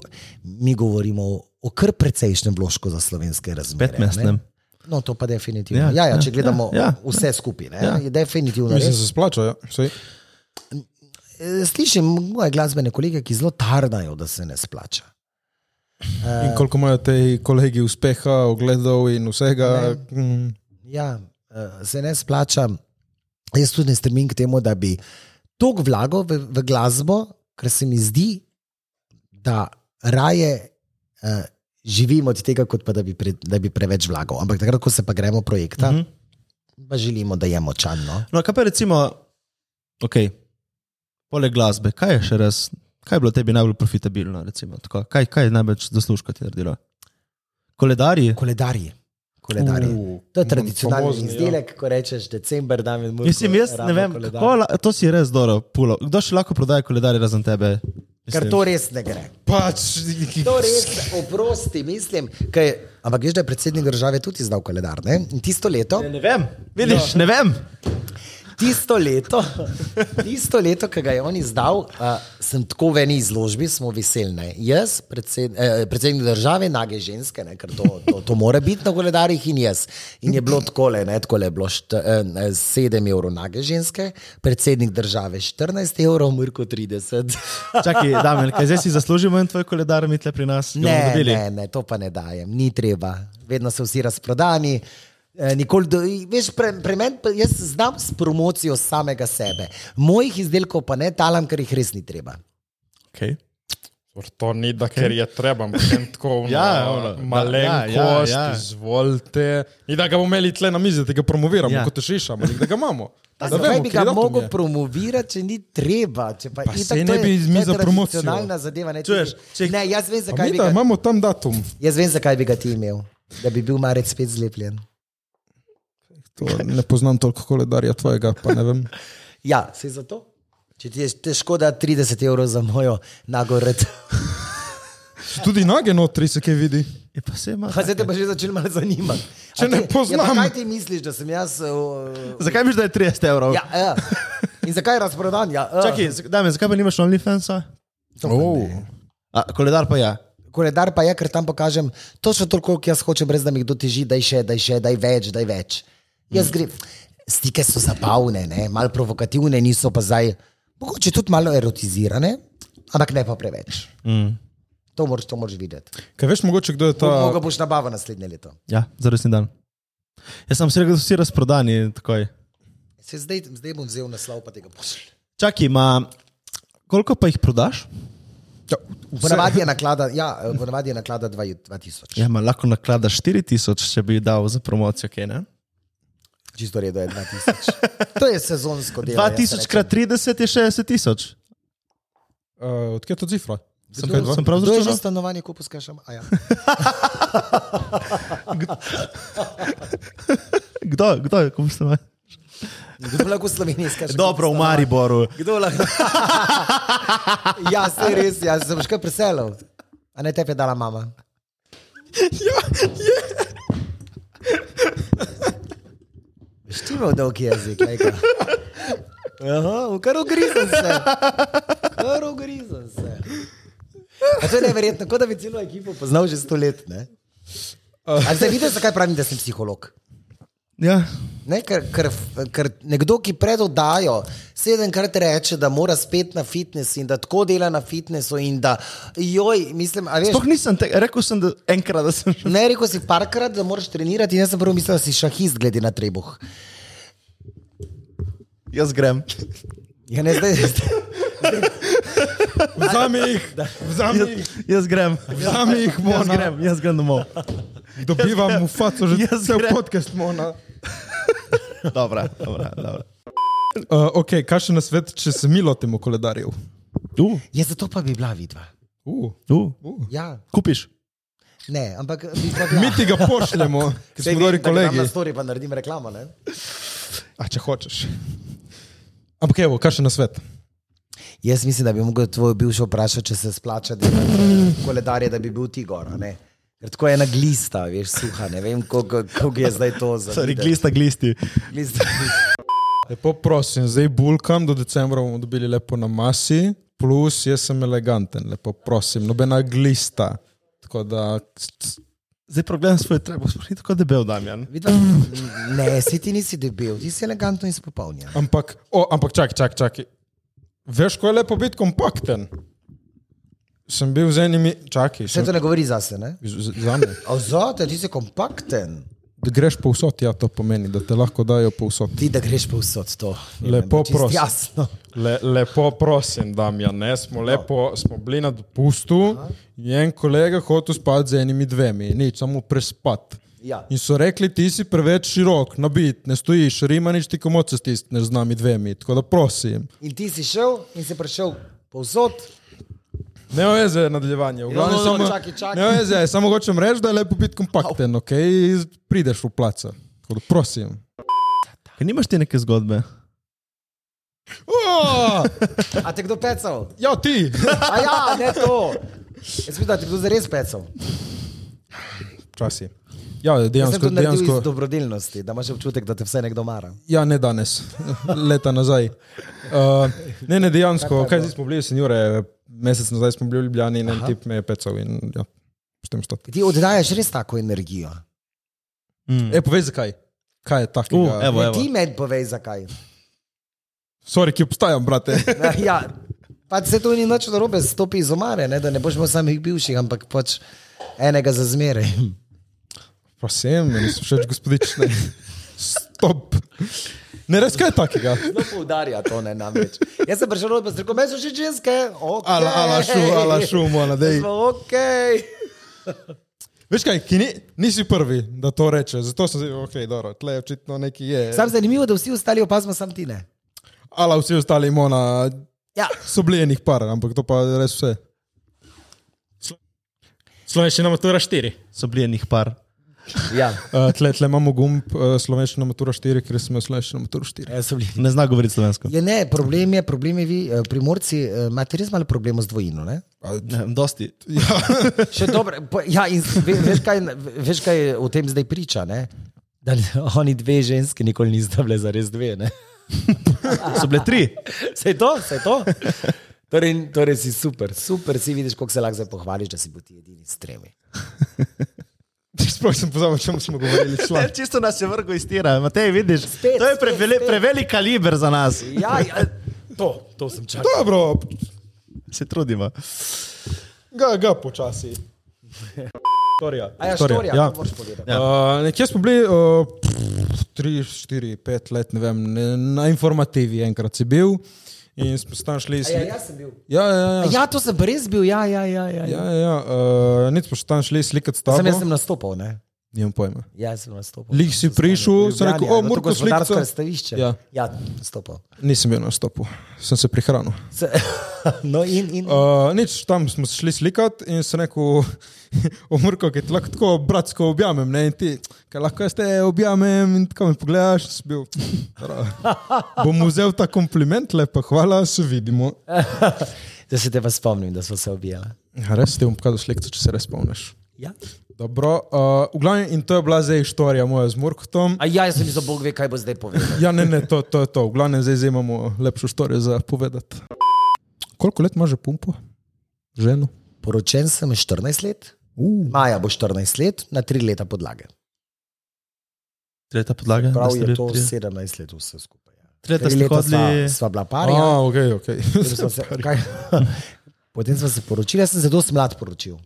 [SPEAKER 2] mi govorimo o, o kar precejšnjem vložku za slovenske razmere. ne.
[SPEAKER 4] Petmestnem.
[SPEAKER 2] No, to pa definitivno.
[SPEAKER 4] Ja,
[SPEAKER 2] Ja, ja,
[SPEAKER 4] ja,
[SPEAKER 2] če gledamo
[SPEAKER 4] ja,
[SPEAKER 2] ja,
[SPEAKER 4] ja.
[SPEAKER 2] ja, vse skupaj, ne?
[SPEAKER 4] Ja.
[SPEAKER 2] je definitivno.
[SPEAKER 1] Mislim,
[SPEAKER 2] res.
[SPEAKER 1] se splača, ja. Sej.
[SPEAKER 2] Eh, Slišim moje glasbene kolege, ki zelo tarnajo, da se ne splača.
[SPEAKER 1] In koliko imajo te kolegi uspeha, ogledov in vsega. Mm.
[SPEAKER 2] Ja, eh, se ne splača. Jaz tudi ne stremim k temu, da bi toliko vlago v, v glasbo, ker se mi zdi, da raje eh, živim od tega, kot pa da bi, pre, da bi preveč vlagal. Ampak takrat, ko se pa gremo projekta, uh
[SPEAKER 4] Mhm.
[SPEAKER 2] -huh. pa želimo, da je močan. No?
[SPEAKER 4] No, kaj pa recimo, ok, poleg glasbe, kaj je še res, kaj je bilo tebi najbolj profitabilno, recimo, tako, kaj, kaj je največ zaslužka ti naredilo? Koledarji?
[SPEAKER 2] Koledarji. Koledarji. Uh, to je tradicionalni
[SPEAKER 1] famozni, ja.
[SPEAKER 2] izdelek, ja. ko rečeš december, da je
[SPEAKER 4] Mislim, jaz ne vem, kako, la- to si res dobro pulo. Kdo še lahko prodaja koledarje razen tebe?
[SPEAKER 2] Ker to res ne gre.
[SPEAKER 1] Pač,
[SPEAKER 2] To res, oprosti, mislim. Kaj, ampak veš, da je predsednik države tudi izdal koledar. Ne? In tisto leto,
[SPEAKER 4] Ne vem, vidiš, ne vem.
[SPEAKER 2] tisto leto, tisto leto ki ga je on izdal, uh, sem tako v eni izložbi, smo veselni. Jaz, predsed, eh, predsednik države, nage ženske, ne, ker to, to, to mora biti na koledarjih, in jaz. In je bilo takole, ne, takole je bilo št, eh, 7 evrov nage ženske, predsednik države 14 evrov, Mirko 30.
[SPEAKER 4] Čakaj, Damien, kaj zdaj si zaslužimo en tvoj koledar, mi tle pri nas? Ga bomo
[SPEAKER 2] Ne,
[SPEAKER 4] dobili?
[SPEAKER 2] ne, ne, to pa ne dajem, ni treba. Vedno so vsi razprodani. eh, nikoli Do, veš, pre, pre men, jaz znam s promocijo samega sebe. Mojih izdelkov pa ne talam, ker jih res ni treba.
[SPEAKER 4] Okay.
[SPEAKER 1] To ni, da ker je treba, ampak tako
[SPEAKER 4] Ja,
[SPEAKER 1] ja,
[SPEAKER 4] ono, da-
[SPEAKER 1] malenkost,
[SPEAKER 4] ja,
[SPEAKER 1] ja,
[SPEAKER 4] ja, ja.
[SPEAKER 1] ja. izvolite. Ni da ga bomo imeli tle na mizi, da ga promoviramo,
[SPEAKER 4] Ja.
[SPEAKER 1] ja. kot šešamo, da ga imamo.
[SPEAKER 2] A
[SPEAKER 1] Da
[SPEAKER 2] Zakaj
[SPEAKER 1] vemo,
[SPEAKER 2] bi
[SPEAKER 1] kateri
[SPEAKER 2] ga
[SPEAKER 1] datum
[SPEAKER 2] mogel
[SPEAKER 1] je.
[SPEAKER 2] promovirati, če ni treba? Če pa
[SPEAKER 1] Pa
[SPEAKER 2] itak
[SPEAKER 1] saj
[SPEAKER 2] to
[SPEAKER 1] ne
[SPEAKER 2] je-
[SPEAKER 1] bi
[SPEAKER 2] to je
[SPEAKER 1] mi za promocijo.
[SPEAKER 2] tradicionalna Zadeva, ne, ti-
[SPEAKER 4] Čuješ, če-
[SPEAKER 2] ne, jaz vem,
[SPEAKER 1] A
[SPEAKER 2] zakaj
[SPEAKER 1] Mi
[SPEAKER 2] bi
[SPEAKER 1] da
[SPEAKER 2] ga,
[SPEAKER 1] imamo tam datum.
[SPEAKER 2] jaz vem, zakaj bi ga ti imel. Da bi bil marec spet zlepljen.
[SPEAKER 1] To, ne poznam toliko koledarja tvojega, pa ne vem.
[SPEAKER 2] Ja, se zato. Če ti je težko dati 30 evrov za mojo nagored.
[SPEAKER 1] Še Tudi nage notri se kaj vidi.
[SPEAKER 4] Je E, pa se ima.
[SPEAKER 2] Pa zdaj te pa že začel malo zanimati. A
[SPEAKER 1] Če ne
[SPEAKER 2] ti- ja, pa
[SPEAKER 1] poznam.
[SPEAKER 2] Kaj ti misliš, da sem jaz? Uh,
[SPEAKER 4] Zakaj misliš, da je 30 evrov?
[SPEAKER 2] ja, ja. In zakaj je razprodan? Ja, uh.
[SPEAKER 4] Čakaj, z- Damien, zakaj pa nimaš OnlyFansa?
[SPEAKER 1] Oh.
[SPEAKER 4] A, koledar pa ja.
[SPEAKER 2] Koledar pa je, ker tam pokažem točno toliko, koliko jaz hočem, brez da mi kdo teži, da je še, da je še, da je več, da je več. Jaz grem. Stike so zabavne, ne? malo provokativne, niso pa zdaj, mogoče tudi malo erotizirane, ampak ne pa preveč.
[SPEAKER 4] Mm.
[SPEAKER 2] To moraš, to moraš videti.
[SPEAKER 1] Kaj veš, mogoče kdo je ta.
[SPEAKER 2] To ga boš nabavil naslednje leto.
[SPEAKER 4] Ja, za resni dan. Jaz sem si rekel, da so vsi razprodani. Takoj.
[SPEAKER 2] Se zdaj, zdaj bom vzel naslov, pa tega pošljem.
[SPEAKER 4] Čakaj, ima. Koliko pa jih prodaš?
[SPEAKER 1] Ja, vse-
[SPEAKER 2] Ponavadi je naklada, ja, ponavadi je naklada 2000.
[SPEAKER 4] Ja, ma, lahko nakladaš 4000, če bi jih dal za promocijo, kaj ne?
[SPEAKER 2] Čisto redo je 2000. To je sezonsko delo. jaz
[SPEAKER 4] 2000
[SPEAKER 2] rečem.
[SPEAKER 4] krat 30 je 60 tisoč.
[SPEAKER 1] Uh, Odkje je to cifra?
[SPEAKER 4] Sem,
[SPEAKER 1] kaj, dva?
[SPEAKER 4] sem prav
[SPEAKER 2] Kdo je že
[SPEAKER 4] zračunal?
[SPEAKER 2] stanovanje kupil, skašam? A ja.
[SPEAKER 4] Kdo, kdo je, komu sem?
[SPEAKER 2] Kdo lahko v Sloveniji skače?
[SPEAKER 4] Dobro, v Mariboru.
[SPEAKER 2] Kdo lahko? ja, se res, jaz sem še kaj preselil. A ne tepe dala mama. Ja, je. Štivo dolg jezik, lejka. Aha, kar ugrizen se. Kar ugrizen se. A to je neverjetno, kot da bi celo ekipo poznal že sto let. Ne? Ali ste videli, zakaj pravim, da sem psiholog?
[SPEAKER 4] Ja,
[SPEAKER 2] Ne, ker, ker, ker nekdo, ki predodajo, sedemkrat reče, da mora spet na fitness in da tako dela na fitnessu. in Da, joj, mislim, a veš,
[SPEAKER 4] Sploh nisem te, rekel sem, da enkrat da sem že.
[SPEAKER 2] ne rekel si parkrat, da moraš trenirati, in jaz sem prvo mislil, da si šahist, glede na trebuh.
[SPEAKER 4] Jaz grem.
[SPEAKER 2] Ja, ne, zdaj, zdaj,
[SPEAKER 1] Vzami jih, vzami jih,
[SPEAKER 4] Jaz grem.
[SPEAKER 1] vzami jih,
[SPEAKER 4] Jaz
[SPEAKER 1] mona.
[SPEAKER 4] grem, jaz grem domov.
[SPEAKER 1] Dobivam v faco že
[SPEAKER 4] Jaz
[SPEAKER 1] cel
[SPEAKER 4] grem.
[SPEAKER 1] podcast, mona.
[SPEAKER 4] Dobra, dobra, dobra.
[SPEAKER 1] Uh, ok, kakšen je svet, če se mi lotimo koledarjev?
[SPEAKER 4] Tu,
[SPEAKER 2] ja, zato pa bi bila vidva.
[SPEAKER 1] Uh,
[SPEAKER 4] tu.
[SPEAKER 2] Ja,
[SPEAKER 4] Kupiš.
[SPEAKER 2] ne, ampak bi pa bila.
[SPEAKER 1] mi ti ga pošljemo, ker
[SPEAKER 2] Saj
[SPEAKER 1] smo
[SPEAKER 2] vem,
[SPEAKER 1] gori
[SPEAKER 2] da ga dam
[SPEAKER 1] kolegi.
[SPEAKER 2] Na story pa naredim reklamo. Ne?
[SPEAKER 1] A če hočeš. Ampak evo, kakšen je svet?
[SPEAKER 2] Jaz mislim, da bi mogel tvojo bivšo vprašati, če se splača delati koledarje, da bi bil ti gor. a ne? Ker tako je ena glista, veš, suha. Ne vem, koliko koliko je zdaj to za.
[SPEAKER 4] Sorry,
[SPEAKER 2] videti.
[SPEAKER 4] glista, glisti.
[SPEAKER 2] Glista.
[SPEAKER 1] Lepo prosim, zdaj bulkam, do decembra bomo dobili lepo na masi, plus jaz sem eleganten, lepo prosim, nobena glista. Tako da,
[SPEAKER 4] Zdaj progledam svoje trebo, sploh ni tako debel, Damjan.
[SPEAKER 2] Vidva- Ne, si ti nisi debel, ti si elegantno izpopolnjen.
[SPEAKER 1] ampak, o, ampak čakaj, čakaj, čakaj. Veš, ko je lepo biti kompakten? Sem bil z enimi, čakaj,
[SPEAKER 2] Še
[SPEAKER 1] sem,
[SPEAKER 2] to ne govori zase, ne?
[SPEAKER 1] z, z, zame.
[SPEAKER 2] A Zote, ti si kompakten.
[SPEAKER 1] Da greš povsod, ja, to pomeni, da te lahko dajo povsod.
[SPEAKER 2] Ti, da greš pa vsod to. Ne
[SPEAKER 1] Lepo
[SPEAKER 2] vem, čisto
[SPEAKER 1] prosim.
[SPEAKER 2] Jasno.
[SPEAKER 1] Le, lepo prosim, Damjan, ne, smo, lepo, smo bili na dopustu in en kolega hotel spati z enimi dvemi, nič, samo prespat.
[SPEAKER 2] Ja.
[SPEAKER 1] In so rekli, ti si preveč širok, nabit, ne stojiš, rimanič ti komoce stisneš z nami dvemi, tako da prosim.
[SPEAKER 2] In ti si šel in si prišel povsod.
[SPEAKER 1] Ne veze nadaljevanje, v glavnem
[SPEAKER 2] no, no,
[SPEAKER 1] samo-
[SPEAKER 2] čakaj, čakaj.
[SPEAKER 1] Ne veze, samo hočem reči, da je lepo biti kompakten, ok, prideš v placa. Tako da prosim.
[SPEAKER 4] Ker nimaš ti neke zgodbe.
[SPEAKER 1] "O,
[SPEAKER 2] A te kdo pecal?
[SPEAKER 1] Ja, ti!
[SPEAKER 2] A ja, ne to. Jaz mislim, da ti kdo zares pecal.
[SPEAKER 1] Včasih. Ja,
[SPEAKER 2] Jaz sem
[SPEAKER 1] dejansko.
[SPEAKER 2] to naredil
[SPEAKER 1] dejansko
[SPEAKER 2] iz dobrodelnosti, da imaš občutek, da te vse nekdo mara.
[SPEAKER 1] ja, ne danes, leta nazaj. Uh, ne, ne, dejansko, kaj zdaj smo bili, senjore, mesec nazaj smo bili v Ljubljani in en tip me je pecal in ja, s tem stot.
[SPEAKER 2] Ti oddajaš res tako energijo.
[SPEAKER 4] Mm.
[SPEAKER 1] E, povej zakaj. Kaj je takega?
[SPEAKER 4] Uh, evo,
[SPEAKER 2] Ne,
[SPEAKER 4] evo.
[SPEAKER 2] ti meni povej, zakaj.
[SPEAKER 1] Sorry, ki obstajam, brate.
[SPEAKER 2] Ja, pač se to ni nič narobe, stopi iz omare, ne, da ne boš imel samih bivših, ampak pač enega za zmeraj.
[SPEAKER 1] Prosim, meni so všeč gospodične. Stop. Ne, res kaj je takega.
[SPEAKER 2] No, poudarja to ne namreč. Jaz sem prišel od vas, rekel, meni so že ženske. Okay.
[SPEAKER 1] Ala, ala šum, ala šum, ala dej.
[SPEAKER 2] Ok.
[SPEAKER 1] Veš kaj, ki ni, nisi prvi, da to reče, zato sem zdaj, ok, dobro, tle očitno neki je.
[SPEAKER 2] Sam zanimivo, da vsi ostali opazimo, sam ti ne.
[SPEAKER 1] Ala vsi ostali imona
[SPEAKER 2] Ja,
[SPEAKER 1] so bili enih par, ampak to pa res vse.
[SPEAKER 6] Slovenščina matura 4.
[SPEAKER 4] So bili enih par.
[SPEAKER 2] ja.
[SPEAKER 1] Uh, tle, tle imamo gumb uh, slovenščina matura 4, ker smo slovenščina matura 4.
[SPEAKER 2] Ja, so bili
[SPEAKER 4] Ne zna govoriti slovensko.
[SPEAKER 2] Ja, ne, problem je, problem je, vi, eh, primorci, eh, imate res malo problemov z dvojino. Ne?
[SPEAKER 4] Ne, dosti.
[SPEAKER 2] Še dobro, po- ja, in ve, veš, kaj, veš, kaj o tem zdaj priča. Ne? Da ne- oni dve ženski nikoli nista bile za res dve. ne?
[SPEAKER 4] So bile tri.
[SPEAKER 2] Saj to, saj to. Torej, torej si super, super si vidiš, koliko se lahko zdaj pohvališ, da si bil ti edini s tremi.
[SPEAKER 1] Sploh sem pozabil, o čem smo govorili.
[SPEAKER 4] Ne,
[SPEAKER 1] član.
[SPEAKER 4] čisto nas je vrgo iz tira. Matej, vidiš,
[SPEAKER 2] Spet,
[SPEAKER 4] to je
[SPEAKER 2] spet,
[SPEAKER 4] preveli,
[SPEAKER 2] spet.
[SPEAKER 4] prevelik kaliber za nas.
[SPEAKER 2] Ja, ja, to, to sem čakal.
[SPEAKER 1] Dobro,
[SPEAKER 4] Se trudimo.
[SPEAKER 1] ga, ga počasi.
[SPEAKER 2] A ja,
[SPEAKER 1] Štorija,
[SPEAKER 2] štorija,
[SPEAKER 1] ja.
[SPEAKER 2] to moraš povedati.
[SPEAKER 4] Ja.
[SPEAKER 1] Uh, nekje smo bili 3, 4, 5 let, ne vem, ne, na informativi enkrat si bil in smo stan šli iz.
[SPEAKER 2] Ja, jaz sem bil.
[SPEAKER 1] Ja, ja,
[SPEAKER 2] A
[SPEAKER 1] ja.
[SPEAKER 2] Ja, to sem pa res bil, ja, ja, ja. ja, ja.
[SPEAKER 1] ja, ja uh, Nic smo še tam šli slikati
[SPEAKER 2] ja
[SPEAKER 1] stavbo.
[SPEAKER 2] sem jaz sem nastopal, ne?
[SPEAKER 1] Nimam pojma.
[SPEAKER 2] Ja, jaz sem nastopal.
[SPEAKER 1] Lih si prišel, sem rekel, o,
[SPEAKER 2] moramo
[SPEAKER 1] Murko,
[SPEAKER 2] no, gospodarsko
[SPEAKER 1] slikati.
[SPEAKER 2] razstavišče.
[SPEAKER 1] Ja.
[SPEAKER 2] ja nastopal.
[SPEAKER 1] Nisem bil na stopu, sem se prihranil.
[SPEAKER 2] Se, no, in, in uh,
[SPEAKER 1] Uh, nič, tam smo se šli slikati in sem rekel, omrko, ki ti lahko tako bratsko objamem, ne in ti, kaj lahko jaz te objamem in tako me pogledaš, sem bil. "Dobro, Bom vzel ta kompliment, lepa hvala, se vidimo.
[SPEAKER 2] da se te pa spomnim, da smo se objeli.
[SPEAKER 1] Ja, res ti bom pokazal sliko, če se res spomniš.
[SPEAKER 2] Ja.
[SPEAKER 1] Dobro, uh, v glavnem, in to je bila zdaj štorija moja z Murkotom.
[SPEAKER 2] A ja, jaz sem mislil, Bog ve, kaj bo zdaj povedal.
[SPEAKER 1] Ja, ne, ne, to, to je to. V glavnem, zdaj zdaj imamo lepšo štorijo za povedati. Koliko let imaš že pumpo? Ženo?
[SPEAKER 2] Poročen sem 14 let,
[SPEAKER 1] Uh.
[SPEAKER 2] Maja bo 14 let, na 3 leta podlage.
[SPEAKER 4] Tretja podlaga.
[SPEAKER 2] Prav je to 17 let vse skupaj. ja.
[SPEAKER 4] Tretja
[SPEAKER 2] Tri
[SPEAKER 4] ste
[SPEAKER 2] leta
[SPEAKER 4] hodili.
[SPEAKER 2] sva, sva bila par, ja.
[SPEAKER 1] Ah, ok, ok.
[SPEAKER 2] Potem sva se, kaj, potem sva se poročila, jaz sem se dosti mlad poročil.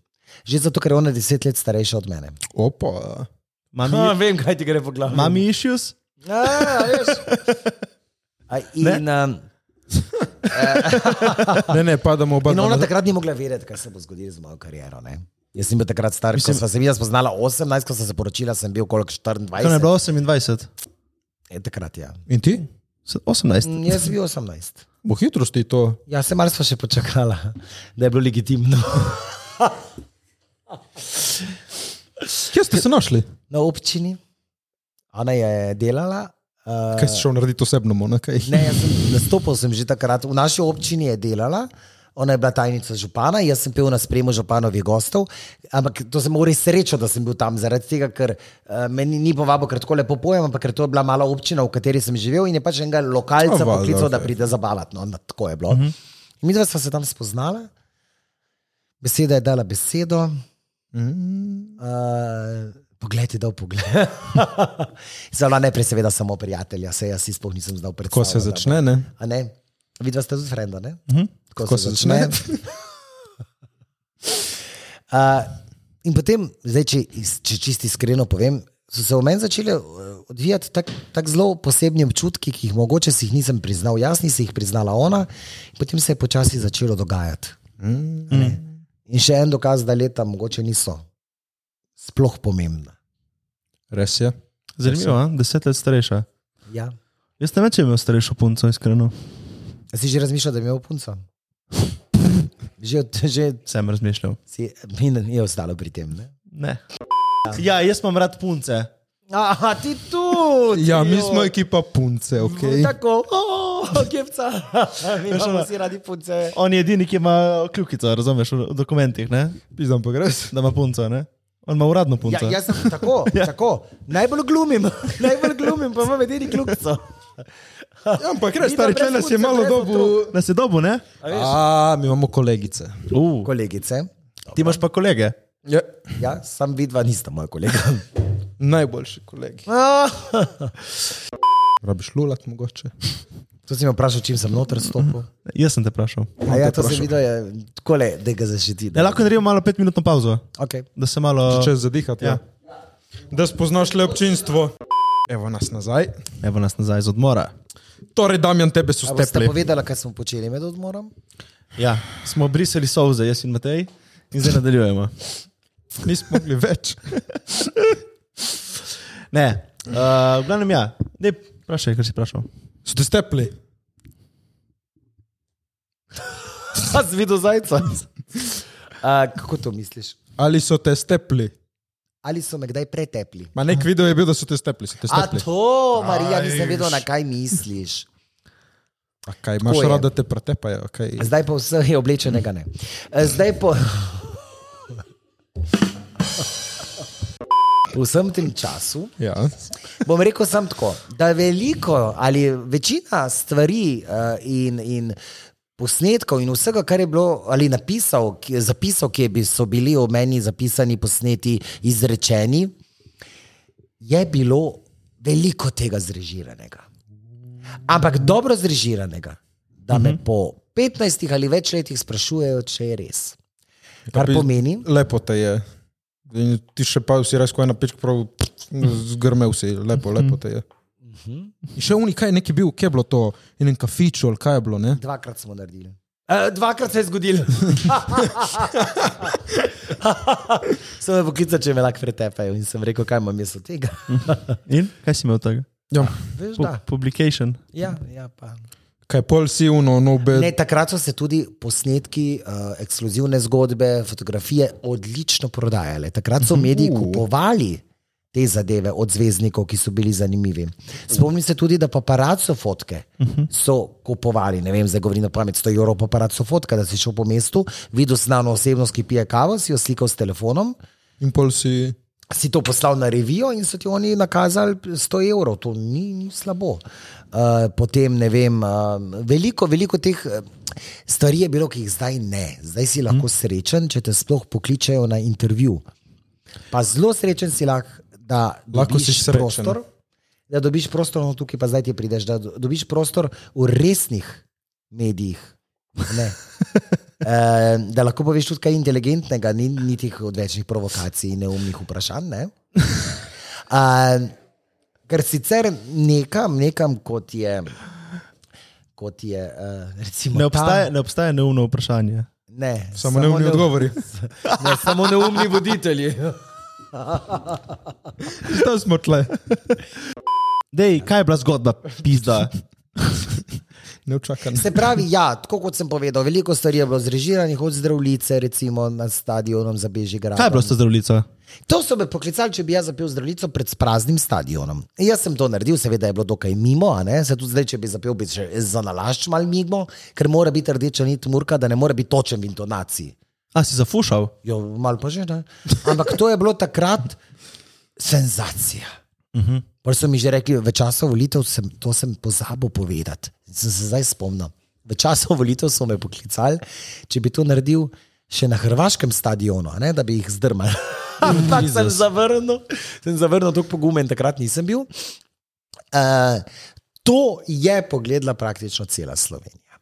[SPEAKER 2] Že zato, ker je ona 10 let starejša od mene.
[SPEAKER 1] Opa.
[SPEAKER 4] Mami,
[SPEAKER 2] vem, kaj ti gre po glavi.
[SPEAKER 4] mami issues?
[SPEAKER 2] Ja, ja, veš. A, in, um,
[SPEAKER 1] Ne, ne, padamo oba.
[SPEAKER 2] in
[SPEAKER 1] dva
[SPEAKER 2] ona
[SPEAKER 1] nazaj.
[SPEAKER 2] takrat ni mogla vedeti, kaj se bo zgodilo z mojo kariero. Ne? Jaz sem bil takrat star, Mislim, ko sem se mi spoznala 18, ko sem se poročila, sem bil koliko
[SPEAKER 4] To ne je
[SPEAKER 2] 24.
[SPEAKER 4] bilo 28.
[SPEAKER 2] E, takrat, ja.
[SPEAKER 1] In ti?
[SPEAKER 4] Se- 18.
[SPEAKER 2] Mm, Jaz sem bil 18.
[SPEAKER 1] Bo hitro sti to.
[SPEAKER 2] Ja, se mar smo še počakala, da je bilo legitimno.
[SPEAKER 1] Kje ste se našli?
[SPEAKER 2] Na občini, ona je delala. Uh,
[SPEAKER 1] Kaj si šel narediti osebno? mo, Ne, kaj?
[SPEAKER 2] Ne, jaz sem nastopil sem že takrat. V naši občini je delala. Ona je bila tajnica župana, jaz sem pel na spremu županovih gostov, ampak to sem imel res srečo, da sem bil tam, zaradi tega, ker uh, me ni, ni povabo, ker tako lepo pojem, ampak ker to je bila mala občina, v kateri sem živel in je pač enega lokalca
[SPEAKER 1] Ja, valjda,
[SPEAKER 2] poklical,
[SPEAKER 1] okej.
[SPEAKER 2] da
[SPEAKER 1] Mhm.
[SPEAKER 2] pride zabavati. No, na- tako je bilo. Uh -huh. Mi dva sva se tam spoznala, beseda je dala besedo. Uh, Poglej, ti dal pogled. Zelo najprej, seveda, samo prijatelja, se jaz si sploh nisem znal predstavljati.
[SPEAKER 1] Ko se
[SPEAKER 2] da bo-
[SPEAKER 1] začne, ne?
[SPEAKER 2] A ne? Vidva sta tudi frenda, ne? Tako
[SPEAKER 1] Ko se začne.
[SPEAKER 2] uh, in potem, zdaj, če, is- če čisto iskreno povem, so se v meni začeli eh, odvijati tako tak zelo posebni občutki, ki jih mogoče si jih nisem priznal, jaz nisem jih priznala ona. in Potem se je počasi začelo dogajati.
[SPEAKER 1] Mm.
[SPEAKER 2] A ne? In še en dokaz, da leta mogoče niso sploh pomembna.
[SPEAKER 1] Res je.
[SPEAKER 4] Zanimivo, a? 10 let starejša.
[SPEAKER 2] Ja.
[SPEAKER 4] Jaz ne vem, če je imel starejšo punco, iskreno.
[SPEAKER 2] A Si že razmišljal, da bi imel punco? Že, od- že
[SPEAKER 4] Sem razmišljal.
[SPEAKER 2] si, mi ni ostalo pri tem. Ne?
[SPEAKER 4] Ne. Ja, jaz imam rad punce.
[SPEAKER 2] Aha, ti tudi.
[SPEAKER 1] Ja, mi
[SPEAKER 2] jo.
[SPEAKER 1] smo ekipa punce, ok.
[SPEAKER 2] Tako. o. kjepca. Mi imamo vsi radi punce.
[SPEAKER 4] On je edini, ki ima kljukico, razumeš, v dokumentih, ne?
[SPEAKER 1] Pizdam pa greš.
[SPEAKER 4] da ima punco. Ne? On ima uradno punco.
[SPEAKER 2] Ja, jaz sem tako, ja. tako. Najbolj glumim, najbolj glumim, pa imam edini kljukico.
[SPEAKER 1] Ja, ampak res,
[SPEAKER 2] Ni
[SPEAKER 1] stari
[SPEAKER 2] pa brez
[SPEAKER 1] člen nas je
[SPEAKER 2] punce,
[SPEAKER 1] malo
[SPEAKER 2] brez
[SPEAKER 1] dobu.
[SPEAKER 2] otrok.
[SPEAKER 4] Da se dobu, ne?
[SPEAKER 1] A, mi imamo kolegice.
[SPEAKER 4] Uh,
[SPEAKER 2] Kolegice,
[SPEAKER 4] ti imaš pa kolege.
[SPEAKER 1] Ja.
[SPEAKER 2] ja, sam vidva nista moja kolega.
[SPEAKER 1] Najboljši kolegi. Rabiš lulat mogoče.
[SPEAKER 2] To si me vprašal, čim sem noter stopil.
[SPEAKER 4] Jaz sem te vprašal.
[SPEAKER 2] A ja, to sem videl, je tako le, da ga zaščiti.
[SPEAKER 4] Ne, lahko naredimo malo petminutno pauzo,
[SPEAKER 2] Okay.
[SPEAKER 4] da se malo.
[SPEAKER 1] Če zadihate.
[SPEAKER 4] Ja.
[SPEAKER 1] Da spoznaš le občinstvo. Evo nas nazaj.
[SPEAKER 4] Evo nas nazaj iz odmora.
[SPEAKER 1] Torej, Damjan, tebe so
[SPEAKER 2] A boste
[SPEAKER 1] stepli.
[SPEAKER 2] povedala, kaj smo počeli med odmorom?
[SPEAKER 4] Ja, smo brisali solze, jaz in Matej, in zdaj nadaljujemo.
[SPEAKER 1] Nismo mogli več.
[SPEAKER 4] Ne, uh, v glavnem ja, ne, vprašaj, kar si vprašal.
[SPEAKER 1] So te stepli.
[SPEAKER 2] Jaz videl zajca. A, kako to misliš?
[SPEAKER 1] Ali so te stepli?
[SPEAKER 2] Ali so me kdaj pretepli?
[SPEAKER 1] Ma nek video je bil, da so te stepli. So te
[SPEAKER 2] A
[SPEAKER 1] stepli.
[SPEAKER 2] to, Marija, nisem vedel, na kaj misliš.
[SPEAKER 1] A kaj imaš
[SPEAKER 2] Tako je.
[SPEAKER 1] rad, da te pretepajo? Kaj?
[SPEAKER 2] Zdaj pa vse je oblečenega ne. E, Zdaj po... Po vsem tem času
[SPEAKER 1] Ja.
[SPEAKER 2] bom rekel samo tako, da veliko ali večina stvari eh, in, in posnetkov in vsega, kar je bilo ali napisal, ki, zapisal, ki je bi- so bili o meni zapisani, posneti, izrečeni, je bilo veliko tega zrežiranega. Ampak dobro zrežiranega, da me po 15 ali več letih sprašujejo, če je res. Kar
[SPEAKER 1] Pri-
[SPEAKER 2] pomeni,
[SPEAKER 1] Lepo te je. In ti še pa vsi resko ena pička, prav zgrmel si, lepo, lepo te je. In še unikaj je neki bil, kje je bilo to, in en kafiču ali kaj je bilo, ne?
[SPEAKER 2] Dvakrat smo naredili. E, dvakrat se je zgodil. sem me poklical, če me lahko pretepajo in sem rekel, kaj imam jaz od tega.
[SPEAKER 4] In kaj si imel od tega?
[SPEAKER 1] Ja.
[SPEAKER 2] Veš,
[SPEAKER 4] Pu
[SPEAKER 2] da.
[SPEAKER 4] publication.
[SPEAKER 2] Ja, ja, pa.
[SPEAKER 1] Kaj pol si uno, no
[SPEAKER 2] ne,
[SPEAKER 1] bed.
[SPEAKER 2] takrat so se tudi posnetki, uh, ekskluzivne zgodbe, fotografije odlično prodajale. Takrat so mediji kupovali. Te zadeve od zvezdnikov, ki so bili zanimivi. Spomnim se tudi, da paparaco fotke so kupovali. Ne vem, zdaj govorim na pamet, 100 evrov paparaco fotka, da si šel po mestu, videl znano osebnost, ki pije kavo, si jo slikal s telefonom,
[SPEAKER 1] In pol si.
[SPEAKER 2] si to poslal na revijo in so ti oni nakazali 100 evrov, to ni, ni slabo. Uh, potem ne vem, uh, veliko, veliko teh eh, stvari je bilo, ki jih zdaj ne. Zdaj si
[SPEAKER 1] Mhm.
[SPEAKER 2] lahko srečen, če te sploh pokličejo na intervju. Pa zelo srečen si lahko, da
[SPEAKER 1] Lahko si
[SPEAKER 2] dobiš
[SPEAKER 1] srečen. no.
[SPEAKER 2] prostor. Da dobiš prostor, no tukaj pa zdaj ti prideš, da do- dobiš prostor v resnih medijih. Ne. Eh, da lahko poveš tudi kaj inteligentnega, ni, ni tih odvečnih provokacij in neumnih vprašanj. Ne? Uh, ker sicer nekam, nekam kot je. Kot je uh, recimo,
[SPEAKER 4] Ne obstaja,
[SPEAKER 2] Tam,
[SPEAKER 4] ne obstaja neumno vprašanje.
[SPEAKER 2] ne,
[SPEAKER 1] Samo neumni
[SPEAKER 2] neu-
[SPEAKER 1] odgovori.
[SPEAKER 2] Ne, samo neumni voditelji.
[SPEAKER 1] Zdaj smo tle.
[SPEAKER 4] Dej, kaj je bila zgodba, pizda?
[SPEAKER 1] Neučakan.
[SPEAKER 2] Se pravi, ja, tako kot sem povedal, veliko stvari je bilo zrežiranih, od zdravljice, recimo na stadionu za Bežigrad.
[SPEAKER 4] Kaj je bilo s to zdravljico?
[SPEAKER 2] To so me poklicali, če bi jaz zapil zdravljico pred praznim stadionom. In Jaz sem to naredil, seveda je bilo dokaj mimo, a ne? se tudi zdaj, če bi zapil, bi še za nalašč mal mimo, ker mora biti rdeča nit murka, da ne more biti točen v intonaciji.
[SPEAKER 4] A si zafušal?
[SPEAKER 2] Jo, malo pa že ne. Ampak to je bilo takrat senzacija. Uh -huh. So mi že rekli, v času volitev sem to sem pozabil povedati, sem se zdaj spomnil. V času volitev so me poklicali, če bi to naredil še na hrvaškem stadionu, a ne, da bi jih zdrmal. Ampak sem zavrnil, sem zavrnil tako pogume in takrat nisem bil. Uh, to je pogledala praktično cela Slovenija.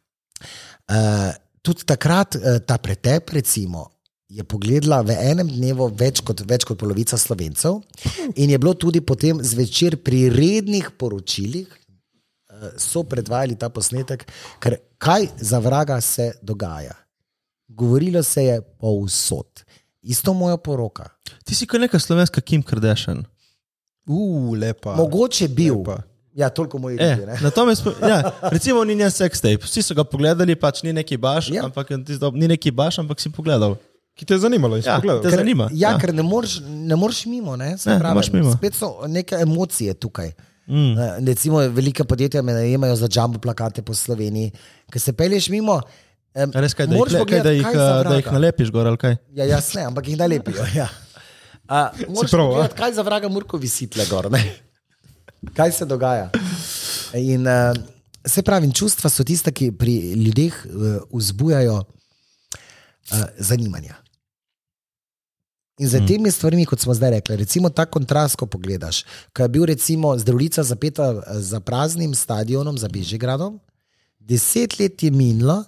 [SPEAKER 2] Uh, tudi takrat uh, ta pretep, recimo, je pogledala v enem dnevu več kot, več kot polovica slovencev in je bilo tudi potem zvečer pri rednih poročilih. eh, So predvajali ta posnetek, ker kaj za vraga se dogaja. Govorilo se je povsod, isto moja poroka.
[SPEAKER 4] Ti si kot neka slovenska Kim Kardashian.
[SPEAKER 1] Uf, lepa.
[SPEAKER 2] Mogoče bil.
[SPEAKER 1] Lepa.
[SPEAKER 2] Ja, toliko mojih
[SPEAKER 4] E,
[SPEAKER 2] ljudi. ne.
[SPEAKER 4] na tome smo, ja, recimo ni njen sex tape. Vsi so ga pogledali, pač ni neki baš,
[SPEAKER 2] Ja.
[SPEAKER 4] ja. ampak je tisto- ni neki baš, ampak si pogledal.
[SPEAKER 1] Ki te je zanimalo,
[SPEAKER 4] Ja,
[SPEAKER 1] ja,
[SPEAKER 4] te
[SPEAKER 1] pogledal.
[SPEAKER 4] z- zanima.
[SPEAKER 2] Ja,
[SPEAKER 4] Ja.
[SPEAKER 2] ker ne moreš, ne moreš mimo, ne, Se
[SPEAKER 4] Ne, ne
[SPEAKER 2] pravi,
[SPEAKER 4] moreš mimo.
[SPEAKER 2] Spet so neke emocije tukaj. Mm. Recimo, velika podjetja me najemajo za jumbo plakate po Sloveniji, ker se pelješ mimo. em,
[SPEAKER 4] A Res kaj, da jih,
[SPEAKER 2] moraš
[SPEAKER 4] le, kaj,
[SPEAKER 2] pogledati,
[SPEAKER 4] da jih,
[SPEAKER 2] kaj za
[SPEAKER 4] eh, da jih
[SPEAKER 2] vraga.
[SPEAKER 4] nalepiš gor ali kaj?
[SPEAKER 2] Ja, jasne, ampak jih nalepijo. Ja. A, moraš
[SPEAKER 1] prav, a?
[SPEAKER 2] pogledati, kaj za vraga Murko visi tle gor. Ne? Kaj se dogaja? In, uh, se pravi, čustva so tiste, ki pri ljudeh uh, vzbujajo uh, zanimanja. In
[SPEAKER 1] Hmm.
[SPEAKER 2] za temi stvarmi, kot smo zdaj rekli, recimo ta kontrast, ko pogledaš, ko je bil recimo zdravnica zapeta eh, za praznim stadionom, za Bežigradom, deset let je minilo,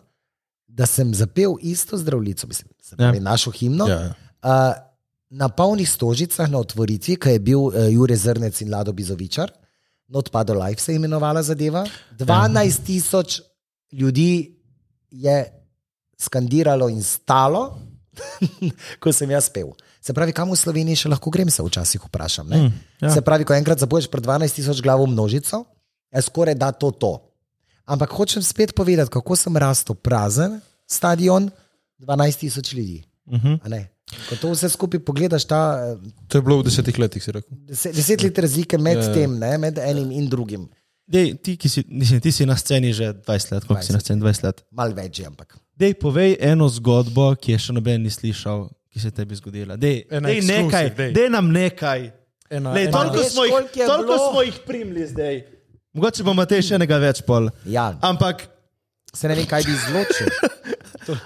[SPEAKER 2] da sem zapel isto zdravnico, mislim, se pravi, ja. našo himno.
[SPEAKER 1] Ja, ja.
[SPEAKER 2] Uh, na polnih stožicah na otvoritvi, ki je bil uh, Jure Zrnec in Lado Bizovičar, Not Pa Do Life se je imenovala zadeva. 12 tisoč ljudi je skandiralo in stalo, ko sem jaz pel. Se pravi, kam v Sloveniji še lahko grem, se včasih vprašam. Mm, ja. Se pravi, ko enkrat zapoješ pred 12 tisoč glavo množico, je skoraj da to to. Ampak hočem spet povedati, kako sem rastel prazen stadion, 12 tisoč ljudi. Uh -huh. Ko to vse skupaj pogledaš, ta eh,
[SPEAKER 1] To je bilo v desetih letih, si rekel.
[SPEAKER 2] deset, deset let razlike med yeah. tem, ne, med enim in drugim,
[SPEAKER 4] Dej, ti, ki si, mislim, ti si na sceni že 20 let, koliko si na sceni 20 let.
[SPEAKER 2] malo več je, ampak.
[SPEAKER 4] Dej, povej eno zgodbo, ki je še noben ni slišal, ki se je tebi zgodila. Dej,
[SPEAKER 1] Ena
[SPEAKER 4] dej
[SPEAKER 1] exclusive,
[SPEAKER 4] nekaj,
[SPEAKER 1] dej.
[SPEAKER 4] dej nam nekaj.
[SPEAKER 1] Ena-
[SPEAKER 4] Lej,
[SPEAKER 1] ena-
[SPEAKER 4] toliko
[SPEAKER 2] Veš,
[SPEAKER 4] smo jih,
[SPEAKER 2] koliko je
[SPEAKER 4] toliko
[SPEAKER 2] bilo?
[SPEAKER 4] smo jih primili zdaj. Mogoče bomo te še enega več pol.
[SPEAKER 2] Ja.
[SPEAKER 4] Ampak,
[SPEAKER 2] Se ne vem, kaj bi izločil.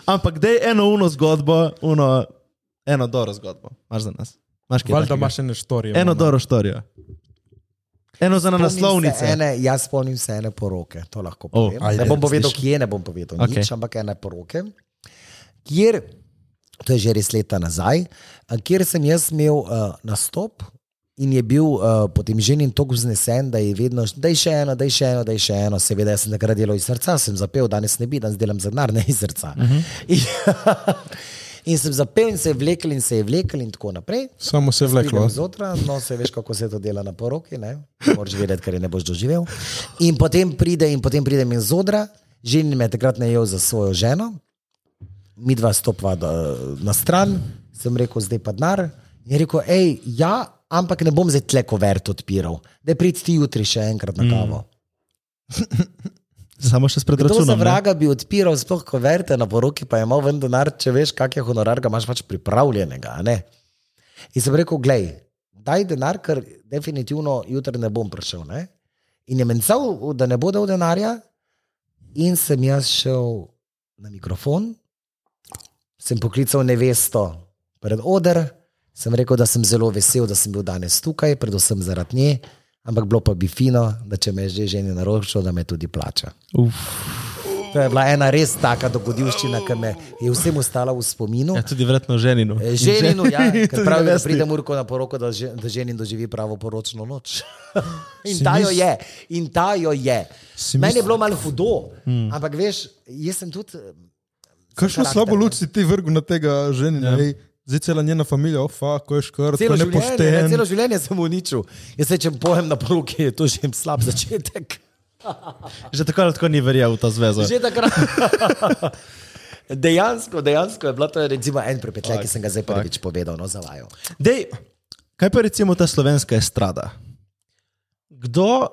[SPEAKER 4] ampak dej eno uno zgodbo, uno, eno dobro zgodbo. Imaš za nas. Imaš kaj
[SPEAKER 1] Valjda
[SPEAKER 4] takega?
[SPEAKER 1] imaš ene štorije.
[SPEAKER 4] Eno
[SPEAKER 1] ono.
[SPEAKER 4] dobro štorijo. Eno za na
[SPEAKER 2] Spomnim se
[SPEAKER 4] naslovnice.
[SPEAKER 2] Ene, jaz spomnim se ene poroke, to lahko
[SPEAKER 4] O,
[SPEAKER 2] povem. Oh,
[SPEAKER 4] ajde,
[SPEAKER 2] ne bom povedal,
[SPEAKER 4] slišim.
[SPEAKER 2] kje ne bom povedal,
[SPEAKER 4] Okej.
[SPEAKER 2] okay. nič, ampak ene poroke, kjer, to je že res leta nazaj, eh, kjer sem jaz imel uh, nastop in je bil uh, potem ženin tako vznesen, da je vedno, da je še eno, da je še eno, da je še eno. Seveda, jaz sem takrat delal iz srca, sem zapel, danes ne bi, danes delam za denar, ne iz srca. Uh
[SPEAKER 4] Mhm.
[SPEAKER 2] -huh. in, in sem zapel in se je vlekel in se je vlekel in tako naprej.
[SPEAKER 1] Samo se je vleklo.
[SPEAKER 2] Pridem Zjutraj, no, se veš, kako se to dela na poroki, ne? moraš vedeti, ker je ne boš doživel. In potem pride in potem pride min zodra, ženi me je takrat najel za svojo ženo, mi dva stopva da, na stran, sem rekel, zdaj pa denar. In je rekel, hej, ja, ampak ne bom zdaj tle kovert odpiral, da prideš ti jutri še enkrat na kavo. Mm.
[SPEAKER 4] Samo še s
[SPEAKER 2] Kdo za
[SPEAKER 4] predračunom. ne?
[SPEAKER 2] vraga bi odpiral sploh koverte na poroki, pa je imel ven denar, če veš, kak je honorar, ga imaš pač pripravljenega. a Ne? In sem rekel, glej, daj denar, ker definitivno jutri ne bom prišel. Ne? In je mencal, da ne bo dal denarja, in sem jaz šel na mikrofon, sem poklical nevesto pred oder, sem rekel, da sem zelo vesel, da sem bil danes tukaj, predvsem zaradi nje, ampak bilo pa bi fino, da če me je že ženi naročil, da me tudi plača. To je bila ena res taka dogodivščina, ki me je vsem ostala v spominu.
[SPEAKER 4] Ja, tudi verjetno ženinu.
[SPEAKER 2] Eh, Ženinu, ja, ker
[SPEAKER 4] Tudi
[SPEAKER 2] pravi, da
[SPEAKER 4] nevesti.
[SPEAKER 2] pride Murko na poroko, da, že, da ženin doživi pravo poročno noč. in ta jo je, in ta jo je. Meni je bilo malo hudo, mm. ampak veš, jaz sem tudi. eh,
[SPEAKER 1] Kakšno
[SPEAKER 2] karakter,
[SPEAKER 1] slabo
[SPEAKER 2] ne?
[SPEAKER 1] luč si ti vrgel na tega ženina? Ja. Zdaj cela njena družina, ofa, ko je škrt, ko
[SPEAKER 2] Celo
[SPEAKER 1] je
[SPEAKER 2] življenje, ne,
[SPEAKER 1] nepošten.
[SPEAKER 2] celo življenje sem uničil. Jaz se če pojem na poroki, je to že slab začetek.
[SPEAKER 4] Že tako ali tako ni verjel v to zvezo.
[SPEAKER 2] Že takrat. Dejansko, dejansko je bilo to recimo, en prepetljaj, ki sem ga zdaj prvič povedal, no zavajal.
[SPEAKER 4] Dej, kaj pa recimo ta slovenska estrada? Kdo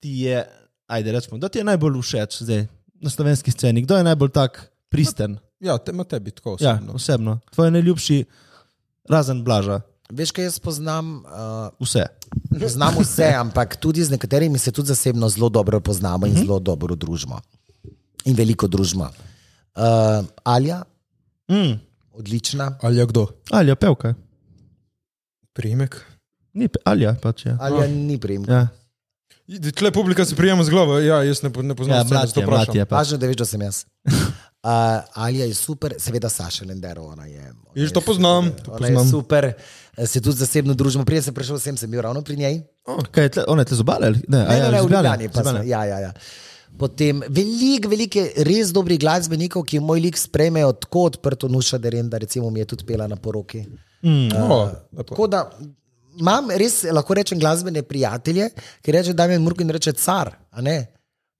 [SPEAKER 4] ti je, ajde rečemo, kdo ti je najbolj všeč zdaj na slovenski sceni? Kdo je najbolj tak pristen?
[SPEAKER 1] Ja, te, ima tebi tako.
[SPEAKER 4] Ja,
[SPEAKER 1] osebno.
[SPEAKER 4] osebno. Tvoj najljubši, razen blaža,
[SPEAKER 2] Veš, kaj jaz poznam? Uh,
[SPEAKER 4] vse.
[SPEAKER 2] Poznamo vse, ampak tudi z nekaterimi se tudi zasebno zelo dobro poznamo in zelo dobro družimo. In veliko družimo. Uh, Alja,
[SPEAKER 4] Mm.
[SPEAKER 2] odlična.
[SPEAKER 1] Ali je kdo?
[SPEAKER 4] Alja, pevka.
[SPEAKER 1] Primek.
[SPEAKER 4] Ni pe, Alja, pač je.
[SPEAKER 2] Alja ni prim.
[SPEAKER 4] Ja,
[SPEAKER 1] Tle publika se prijema z glavo, ja, jaz ne, po- ne poznam
[SPEAKER 4] ja
[SPEAKER 1] scene,
[SPEAKER 4] mlad
[SPEAKER 1] zato
[SPEAKER 4] je, mlad
[SPEAKER 1] vprašam.
[SPEAKER 4] je. Pač.
[SPEAKER 2] Važno, da veš, da sem jaz. Uh, Alja je super, seveda Saša Lendero, ona je. Ona
[SPEAKER 1] Viš, to
[SPEAKER 2] je
[SPEAKER 1] poznam,
[SPEAKER 2] super,
[SPEAKER 1] to
[SPEAKER 2] ona
[SPEAKER 1] poznam.
[SPEAKER 2] je super, eh, se tudi zasebno družimo. Prej sem prišel sem, sem bil ravno pri njej.
[SPEAKER 4] Kaj je tle, on je tle zobale? ali- Ne, a
[SPEAKER 2] Ne,
[SPEAKER 4] ja,
[SPEAKER 2] ne, ne,
[SPEAKER 4] iz
[SPEAKER 2] v
[SPEAKER 4] Ljubljane,
[SPEAKER 2] Ljubljani
[SPEAKER 4] iz
[SPEAKER 2] pa
[SPEAKER 4] Ljubljane.
[SPEAKER 2] smo. Ja, ja, ja. Potem veliko, veliko je res dobrih glasbenikov, ki moj lik sprejmejo tako odprto, nuša deren, da recimo mi je tudi pela na poroki.
[SPEAKER 1] No, lepo.
[SPEAKER 2] Tako da imam res, lahko rečem, glasbene prijatelje, ki reče, da je Murkin reče car. a ne.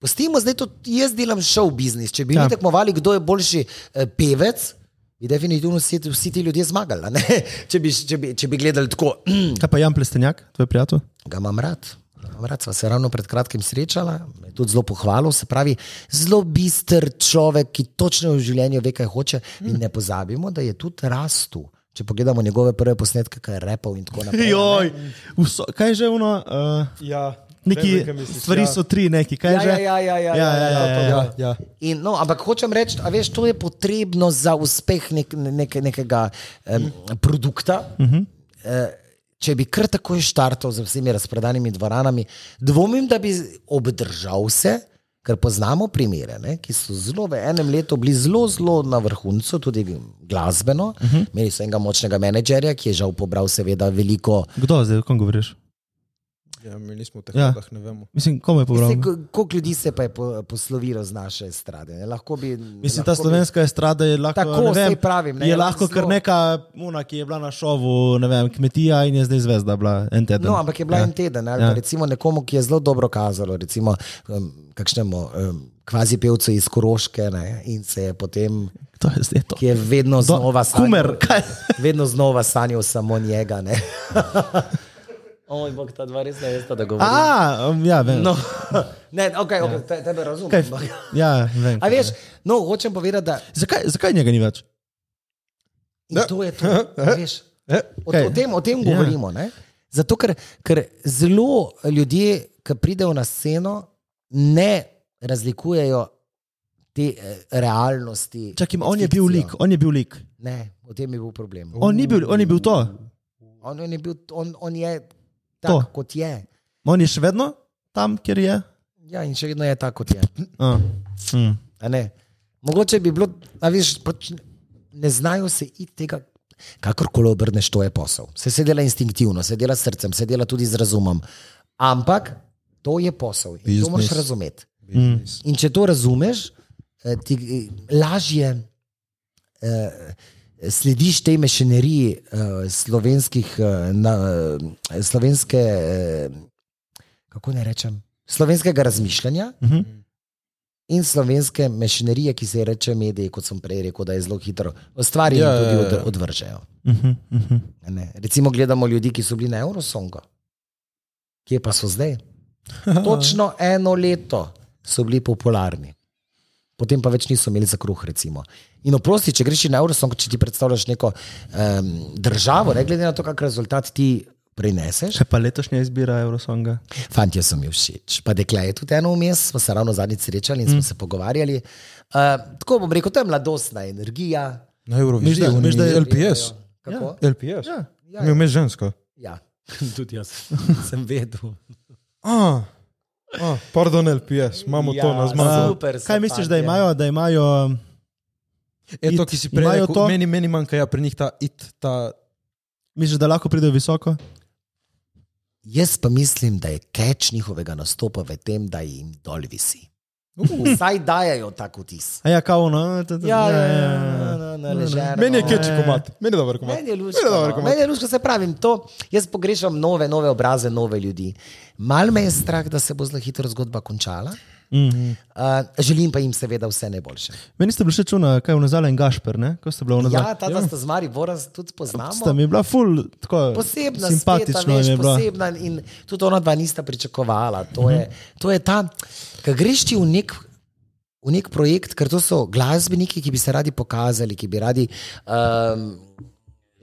[SPEAKER 2] Pustimo zdaj to, jaz delam šov biznis. Če bi ja. mi tekmovali, kdo je boljši eh, pevec, bi definitivno vsi, vsi ti ljudje zmagali. a ne? Če bi, če, bi, če bi gledali tako,
[SPEAKER 4] Kaj pa Jan Plestenjak, tvoj prijatelj?
[SPEAKER 2] ga imam rad. Ga imam Rad sva se ravno pred kratkim srečala, me je tudi zelo pohvalil, se pravi, zelo bister človek, ki točno v življenju ve, kaj hoče. Mi ne pozabimo, da je tudi rastel. Če pogledamo njegove prve posnetke, kaj je repal in tako naprej.
[SPEAKER 4] Joj, vso, kaj je že ono? Uh,
[SPEAKER 1] Ja,
[SPEAKER 4] neki stvari so tri, neki, kaj je že?
[SPEAKER 2] Ja, ja, ja, ja, ja, ja, ja,
[SPEAKER 4] ja, ja.
[SPEAKER 1] ja.
[SPEAKER 2] In, no, ampak hočem reči, da veš, to je potrebno za uspeh nek, nek, nekega um, produkta. Uh
[SPEAKER 4] Mhm.
[SPEAKER 2] -huh. Če bi kar takoj štartal z vsemi razprodanimi dvoranami, dvomim, da bi obdržal vse, ker poznamo primere, ne, ki so zelo v enem letu bili zelo, zelo na vrhuncu, tudi glasbeno. Uh
[SPEAKER 4] Mhm.
[SPEAKER 2] -huh. Imeli so enega močnega menedžerja, ki je žal pobral, seveda, veliko.
[SPEAKER 4] Kdo zdaj, o kom govoriš?
[SPEAKER 1] ja, mi nismo v teh
[SPEAKER 4] Ja.
[SPEAKER 1] ja. vodah, ne vemo.
[SPEAKER 4] Mislim, kom je pobral?
[SPEAKER 2] Vse, ko- Koliko ljudi se pa je po- poslovilo z naše estrade? ne. Lahko bi,
[SPEAKER 4] Mislim, ta
[SPEAKER 2] lahko bi-
[SPEAKER 4] slovenska estrada je lahko,
[SPEAKER 2] Tako,
[SPEAKER 4] ne vem,
[SPEAKER 2] saj pravim, ne,
[SPEAKER 4] je
[SPEAKER 2] ja,
[SPEAKER 4] lahko
[SPEAKER 2] zelo-
[SPEAKER 4] kar neka muna, ki je bila na šovu, ne vem, kmetija in je zdaj zvezda bila en teden.
[SPEAKER 2] No, ampak je bila
[SPEAKER 4] Ja.
[SPEAKER 2] ja. en teden. Ali,
[SPEAKER 4] Ja.
[SPEAKER 2] ja. Recimo nekomu, ki je zelo dobro kazalo, recimo um, kakšnemu um, kvazi pevcu iz Koroške ne, in se je potem,
[SPEAKER 4] To je zdaj to.
[SPEAKER 2] ki je vedno
[SPEAKER 4] Do-
[SPEAKER 2] znova sanjal.
[SPEAKER 4] Kumer, kaj?
[SPEAKER 2] Vedno znova sanjal samo njega. ne. Oj, bog, ta dva res ne veste, da govorim.
[SPEAKER 4] A, um, ja, vem.
[SPEAKER 2] No, ne, ok, okay te, tebe razumem.
[SPEAKER 4] Kaj,
[SPEAKER 2] ampak-
[SPEAKER 4] ja, vem.
[SPEAKER 2] A
[SPEAKER 4] kaj
[SPEAKER 2] veš,
[SPEAKER 4] je.
[SPEAKER 2] no, hočem povedati, da
[SPEAKER 4] Zakaj, zakaj njega ni več?
[SPEAKER 2] In to je to. a Veš, o,
[SPEAKER 4] Kaj?
[SPEAKER 2] o, tem, o tem govorimo. Ne? Zato, ker, ker zelo ljudje, ki pridejo na sceno, ne razlikujejo te eh, realnosti.
[SPEAKER 4] Čakaj, on je bil
[SPEAKER 2] Fikcijo.
[SPEAKER 4] lik, on je bil lik.
[SPEAKER 2] Ne, v tem je bil problem.
[SPEAKER 4] On ni bil, on je bil to.
[SPEAKER 2] On, on, je, bil, on, on je
[SPEAKER 4] To.
[SPEAKER 2] tak, kot je.
[SPEAKER 4] On je še vedno tam, kjer je.
[SPEAKER 2] Ja, in še vedno je tak, kot je.
[SPEAKER 4] A. Mm.
[SPEAKER 2] A ne? Mogoče bi bilo, a veš, pač ne znajo se iti tega. Kakorkoli obrneš, to je posel. Se, se dela instinktivno, se dela s srcem, se dela tudi z razumom. Ampak to je posel in Business. to moraš razumeti.
[SPEAKER 4] Mm.
[SPEAKER 2] In če to razumeš, eh, ti eh, lažje eh, slediš tej mešaneriji eh, slovenskih, eh, na, eh, slovenske, eh, kako naj rečem, slovenskega razmišljanja.
[SPEAKER 4] Mhm.
[SPEAKER 2] In slovenske mešanerije, ki se ji reče mediji, kot sem prej rekel, da je zelo hitro ustvarjeno,
[SPEAKER 1] Ja,
[SPEAKER 2] ja,
[SPEAKER 1] ja,
[SPEAKER 2] tudi
[SPEAKER 1] ja.
[SPEAKER 2] od, odvržejo.
[SPEAKER 4] Mhm, mhm.
[SPEAKER 2] a Ne? Recimo, gledamo ljudi, ki so bili na Eurosongu, kje pa so zdaj. Točno eno leto so bili popularni, potem pa več niso imeli za kruh. Recimo. In oprosti, če greš na Eurosong, če ti predstavljaš neko um, državo, ne glede na to, kak rezultat ti prineseš.
[SPEAKER 4] Še pa letošnja izbira Eurosonga.
[SPEAKER 2] Fantje so mi všeč, pa dekle je tudi eno vmes, smo se ravno zadnjič srečali in smo mm. se pogovarjali. Uh, tako bom rekel, to je mladostna energija.
[SPEAKER 1] Na Euroviziji,
[SPEAKER 4] Miš, da- miš,
[SPEAKER 1] veš,
[SPEAKER 4] da
[SPEAKER 1] da
[SPEAKER 4] je-
[SPEAKER 1] je LPS.
[SPEAKER 2] Kako?
[SPEAKER 1] LPS.
[SPEAKER 4] Ja.
[SPEAKER 1] Ja, ja. Mi je žensko.
[SPEAKER 2] Ja. Tudi jaz sem vedel.
[SPEAKER 1] Ah, ah, pardon, LPS, imamo ja, to na zmagu.
[SPEAKER 2] Super, so
[SPEAKER 4] Kaj misliš, da
[SPEAKER 2] fantje.
[SPEAKER 4] imajo? Da imajo um,
[SPEAKER 1] E, to,
[SPEAKER 4] It,
[SPEAKER 1] ki si prej
[SPEAKER 4] imajo
[SPEAKER 1] rekel,
[SPEAKER 4] to?
[SPEAKER 1] to? meni, meni manjka ja, pri njih ta it, ta
[SPEAKER 4] misliš, da lahko pridejo visoko?
[SPEAKER 2] Jaz pa mislim, da je keč njihovega nastopa v tem, da jim dol visi. Uh. Saj dajajo tak vtis.
[SPEAKER 4] A ja, kao ono. t- t-
[SPEAKER 2] Ja, ja, ja, ja, ja, ja, ležerno.
[SPEAKER 1] Meni je keči komat, meni je dober komat.
[SPEAKER 2] Meni je luško,
[SPEAKER 1] Meni je dober
[SPEAKER 2] no.
[SPEAKER 1] komat.
[SPEAKER 2] Meni je luško, se pravim, to, jaz pogrešam nove, nove obraze, nove ljudi. Mal me je strah, da se bo zelo hitro zgodba končala.
[SPEAKER 4] Mhm. No,
[SPEAKER 2] Uh, želim pa jim seveda vse najboljše.
[SPEAKER 4] Meni ste bili še čuna, kaj je nazaj in Gašper, ne? Ko ste bili v nazaj.
[SPEAKER 2] Ja, ta dva sta z Mariborom tudi poznamo.
[SPEAKER 4] no. Sta mi bila ful, tako
[SPEAKER 2] Posebna,
[SPEAKER 4] simpatično
[SPEAKER 2] spet, a veš,
[SPEAKER 4] mi je bila.
[SPEAKER 2] posebna in tudi ona dva nista pričakovala. To je,
[SPEAKER 4] Mhm.
[SPEAKER 2] to je ta, ki greš ti v nek. V nek projekt, ker to so glasbeniki, ki bi se radi pokazali, ki bi radi um,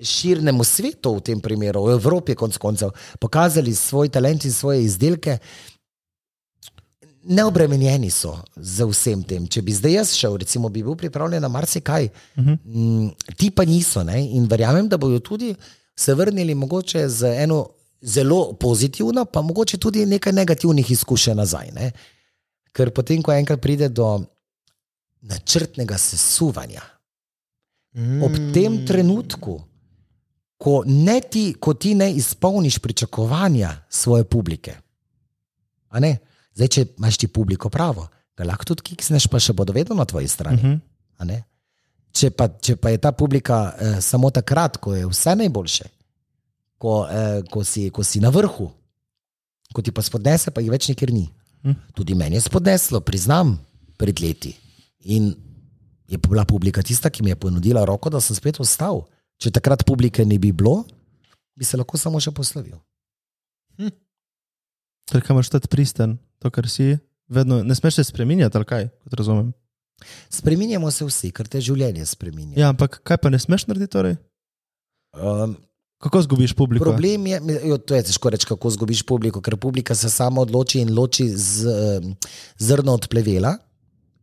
[SPEAKER 2] širnemu svetu, v tem primeru, v Evropi, konc koncev, pokazali svoj talent in svoje izdelke. Neobremenjeni so z vsem tem. Če bi zdaj jaz šel, recimo, bi bil pripravljen na marsikaj, uh -huh. ti pa niso. Ne? In verjamem, da bodo tudi se vrnili mogoče z eno zelo pozitivno, pa mogoče tudi nekaj negativnih izkušenj nazaj. Ne? Ker potem, ko enkrat pride do načrtnega sesuvanja,
[SPEAKER 1] Mm.
[SPEAKER 2] ob tem trenutku, ko, ne ti, ko ti ne izpolniš pričakovanja svoje publike. A ne? Zdaj, če imaš ti publiko pravo, ga lahko tudi kiksneš, pa še bodo vedno na tvoji strani.
[SPEAKER 4] Mhm.
[SPEAKER 2] a ne. Če pa, če pa je ta publika eh, samo takrat, ko je vse najboljše, ko, eh, ko, si, ko si na vrhu, ko ti pa spodnese, pa jih več nikjer ni. Tudi meni je spodneslo, priznam, pred leti. In je pa bila publika tista, ki mi je ponudila roko, da sem spet ostal. Če takrat publike ne bi bilo, bi se lahko samo še poslovil.
[SPEAKER 4] Ker kam imaš tudi pristen, to, kar si, vedno ne smeš se spremenjati, ali kaj, kot razumem.
[SPEAKER 2] Spreminjamo se vsi, ker te življenje spreminja.
[SPEAKER 4] Ja, ampak kaj pa ne smeš narediti torej?
[SPEAKER 2] Um,
[SPEAKER 4] Kako zgubiš publiko?
[SPEAKER 2] problem je, mi- jo, to je težko reči, kako zgubiš publiko, ker publika se sama odloči in loči z, um, zrno od plevela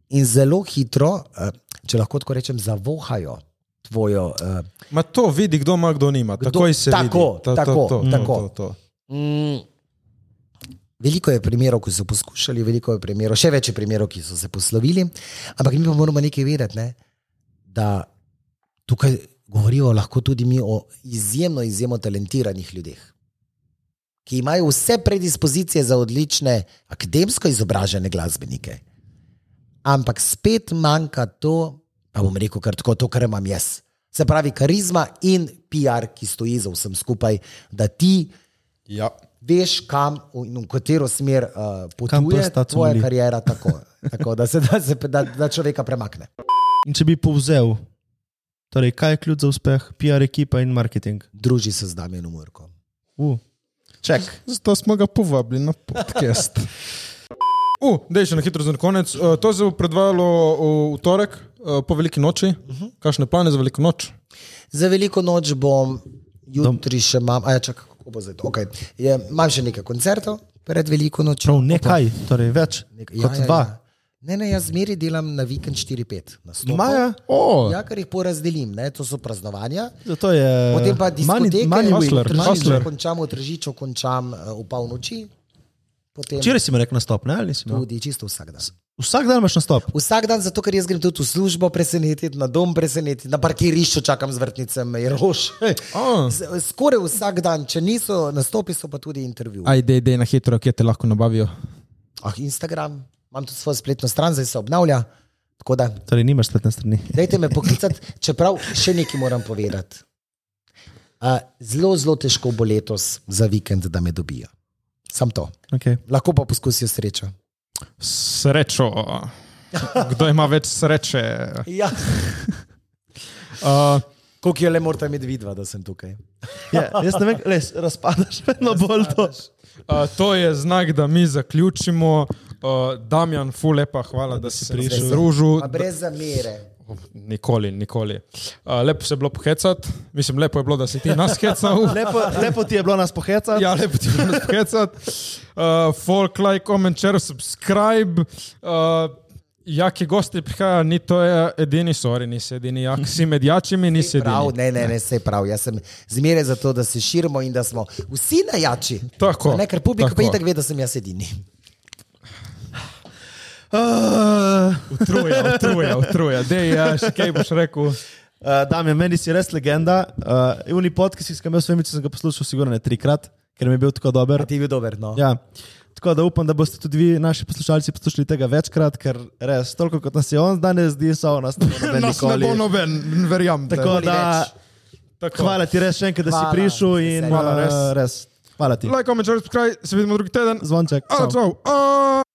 [SPEAKER 2] in zelo hitro, eh, če lahko tako rečem, zavohajo tvojo. eh,
[SPEAKER 1] Ma to vidi, kdo ima, kdo nima.
[SPEAKER 2] Kdo-
[SPEAKER 1] Takoj se vidi.
[SPEAKER 2] tako,
[SPEAKER 1] To, to,
[SPEAKER 2] tako,
[SPEAKER 1] to, to,
[SPEAKER 2] tako.
[SPEAKER 1] To, to.
[SPEAKER 2] Mm, Veliko je primerov, ki so poskušali, veliko je primerov, še več je primerov, ki so se poslovili. Ampak mi pa moramo nekaj vedeti, ne? da tukaj govorijo lahko tudi mi o izjemno, izjemno talentiranih ljudeh, ki imajo vse predispozicije za odlične, akademsko izobražene glasbenike. Ampak spet manjka to, pa bom rekel kar tako, to, kar imam jaz. Se pravi, karizma in PR, ki stoji za vsem skupaj, da ti
[SPEAKER 1] Ja.
[SPEAKER 2] veš, kam in v katero smer uh, potuje
[SPEAKER 4] prsta
[SPEAKER 2] tvoja
[SPEAKER 4] cmoli.
[SPEAKER 2] karijera, tako, tako da se da, se, da, da človeka premakne.
[SPEAKER 4] In če bi povzel, torej, kaj je ključ za uspeh, PR ekipa in marketing?
[SPEAKER 2] Druži se z Damienom Murkom.
[SPEAKER 4] Uh. Ček.
[SPEAKER 1] Zato smo ga povabili na podcast. Uh, da je še na hitro za konec. Uh, to se bo predvajalo e, v v torek, uh, po veliki noči. Uh
[SPEAKER 2] Mhm.
[SPEAKER 1] -huh. Kakšne plane za veliko noč?
[SPEAKER 2] Za veliko noč bom, jutri še imam, a ja, čakaj, kako bo zdaj to. Okay. Je, imam še nekaj koncertov, pred veliko nočjo.
[SPEAKER 4] Prav nekaj, torej več
[SPEAKER 2] Nek-
[SPEAKER 4] Nek, kot ja, dva. Ja,
[SPEAKER 2] Ne, ne, jaz zmeri delam na vikend 4-5.
[SPEAKER 4] ja.
[SPEAKER 2] nastopov.
[SPEAKER 4] Maja,
[SPEAKER 1] O,
[SPEAKER 2] Ja, ker jih porazdelim, ne? to so praznovanja.
[SPEAKER 4] zato je.
[SPEAKER 2] Potem pa diskoteke,
[SPEAKER 4] Ja. Mani,
[SPEAKER 2] v
[SPEAKER 4] mani
[SPEAKER 1] Hustler,
[SPEAKER 2] Tržiču
[SPEAKER 1] Hustler.
[SPEAKER 2] končam, v Tržiču končam eh, v polnoči. Potem
[SPEAKER 4] Včeraj si mi rekel nastop, ne? ali nisi imel?
[SPEAKER 2] tudi čisto vsak dan.
[SPEAKER 4] Vsak dan imaš nastop.
[SPEAKER 2] Vsak dan, zato ker jaz grem tudi v službo presenetiti, na dom presenetiti, na parkirišču čakam z vrtnicem, je rož.
[SPEAKER 1] A.
[SPEAKER 2] Z- Skoraj vsak dan, če niso nastopi, so pa tudi intervjuji.
[SPEAKER 1] ajde, ajde na hitro, kje te lahko nabavijo.
[SPEAKER 2] Ah, Instagram, imam tudi svojo spletno stran, zdaj se obnavlja. Tako da,
[SPEAKER 4] Torej, nimaš spletne strani.
[SPEAKER 2] dajte me poklicati, čeprav še nekaj moram povedati. Uh, zelo, zelo težko bo letos za vikend, da me dobijo. Sam to.
[SPEAKER 4] Okay.
[SPEAKER 2] Lahko pa poskusijo srečo.
[SPEAKER 1] Srečo. Kdo ima več sreče?
[SPEAKER 2] Ja,
[SPEAKER 1] Uh,
[SPEAKER 2] koliko jo le morate imeti vidva, da sem tukaj.
[SPEAKER 4] Ja, jaz ne vem, les, razpadaš vedno bolj to.
[SPEAKER 1] Uh, to je znak, da mi zaključimo. Uh, Damjan, fulepa, hvala, da si
[SPEAKER 2] Zdaj sem-
[SPEAKER 1] prišel. Družil,
[SPEAKER 2] Pa brez zamere.
[SPEAKER 1] nikoli, nikoli. Uh, lepo se je bilo pohecati, mislim, lepo je bilo, da si ti nas hecal.
[SPEAKER 4] Lepo, lepo ti je bilo nas pohecati.
[SPEAKER 1] ja, lepo ti je bilo nas pohecati. Uh, folk, like, comment, share, subscribe. Uh, Jaki gosti prihajajo, ni to je edini, sorry, nisi edini, jak si med jačimi, nisi
[SPEAKER 2] Prav,
[SPEAKER 1] edini.
[SPEAKER 2] ne, ne, ne, se pravi. Jaz sem zmeraj za to, da se širimo in da smo vsi najjači.
[SPEAKER 1] Tako,
[SPEAKER 2] A Ne, ker publika
[SPEAKER 1] tako.
[SPEAKER 2] pa itak ve, da sem jaz edini.
[SPEAKER 4] Uh,
[SPEAKER 1] Utruja, utruja, utruja. Dej, ja, še kaj boš rekel?
[SPEAKER 4] Uh, Damien, meni si res legenda. Uh, Uni podcast, ki sem ga imel s vami, sem ga poslušal sigurno ne trikrat, ker mi je bil tako dober.
[SPEAKER 2] Ti je bil dober, no.
[SPEAKER 4] Ja. Tako da upam, da boste tudi vi, naši poslušalci, poslušali tega večkrat, ker res toliko kot nas je on danes, zdi se, o nas ne bo noben
[SPEAKER 1] Nas ne
[SPEAKER 4] nikoli.
[SPEAKER 1] bo noben, verjamem.
[SPEAKER 4] Tako da,
[SPEAKER 1] Tako.
[SPEAKER 4] hvala ti res še enkrat, da si
[SPEAKER 2] Hvala,
[SPEAKER 4] prišel in
[SPEAKER 2] veselje.
[SPEAKER 1] Hvala,
[SPEAKER 4] eh,
[SPEAKER 1] res.
[SPEAKER 4] res. Hvala ti.
[SPEAKER 1] Like, comment, share, subscribe, se vidimo drugi teden.
[SPEAKER 4] Zvonček.
[SPEAKER 1] Ciao,
[SPEAKER 4] čau.
[SPEAKER 1] ciao. Ah!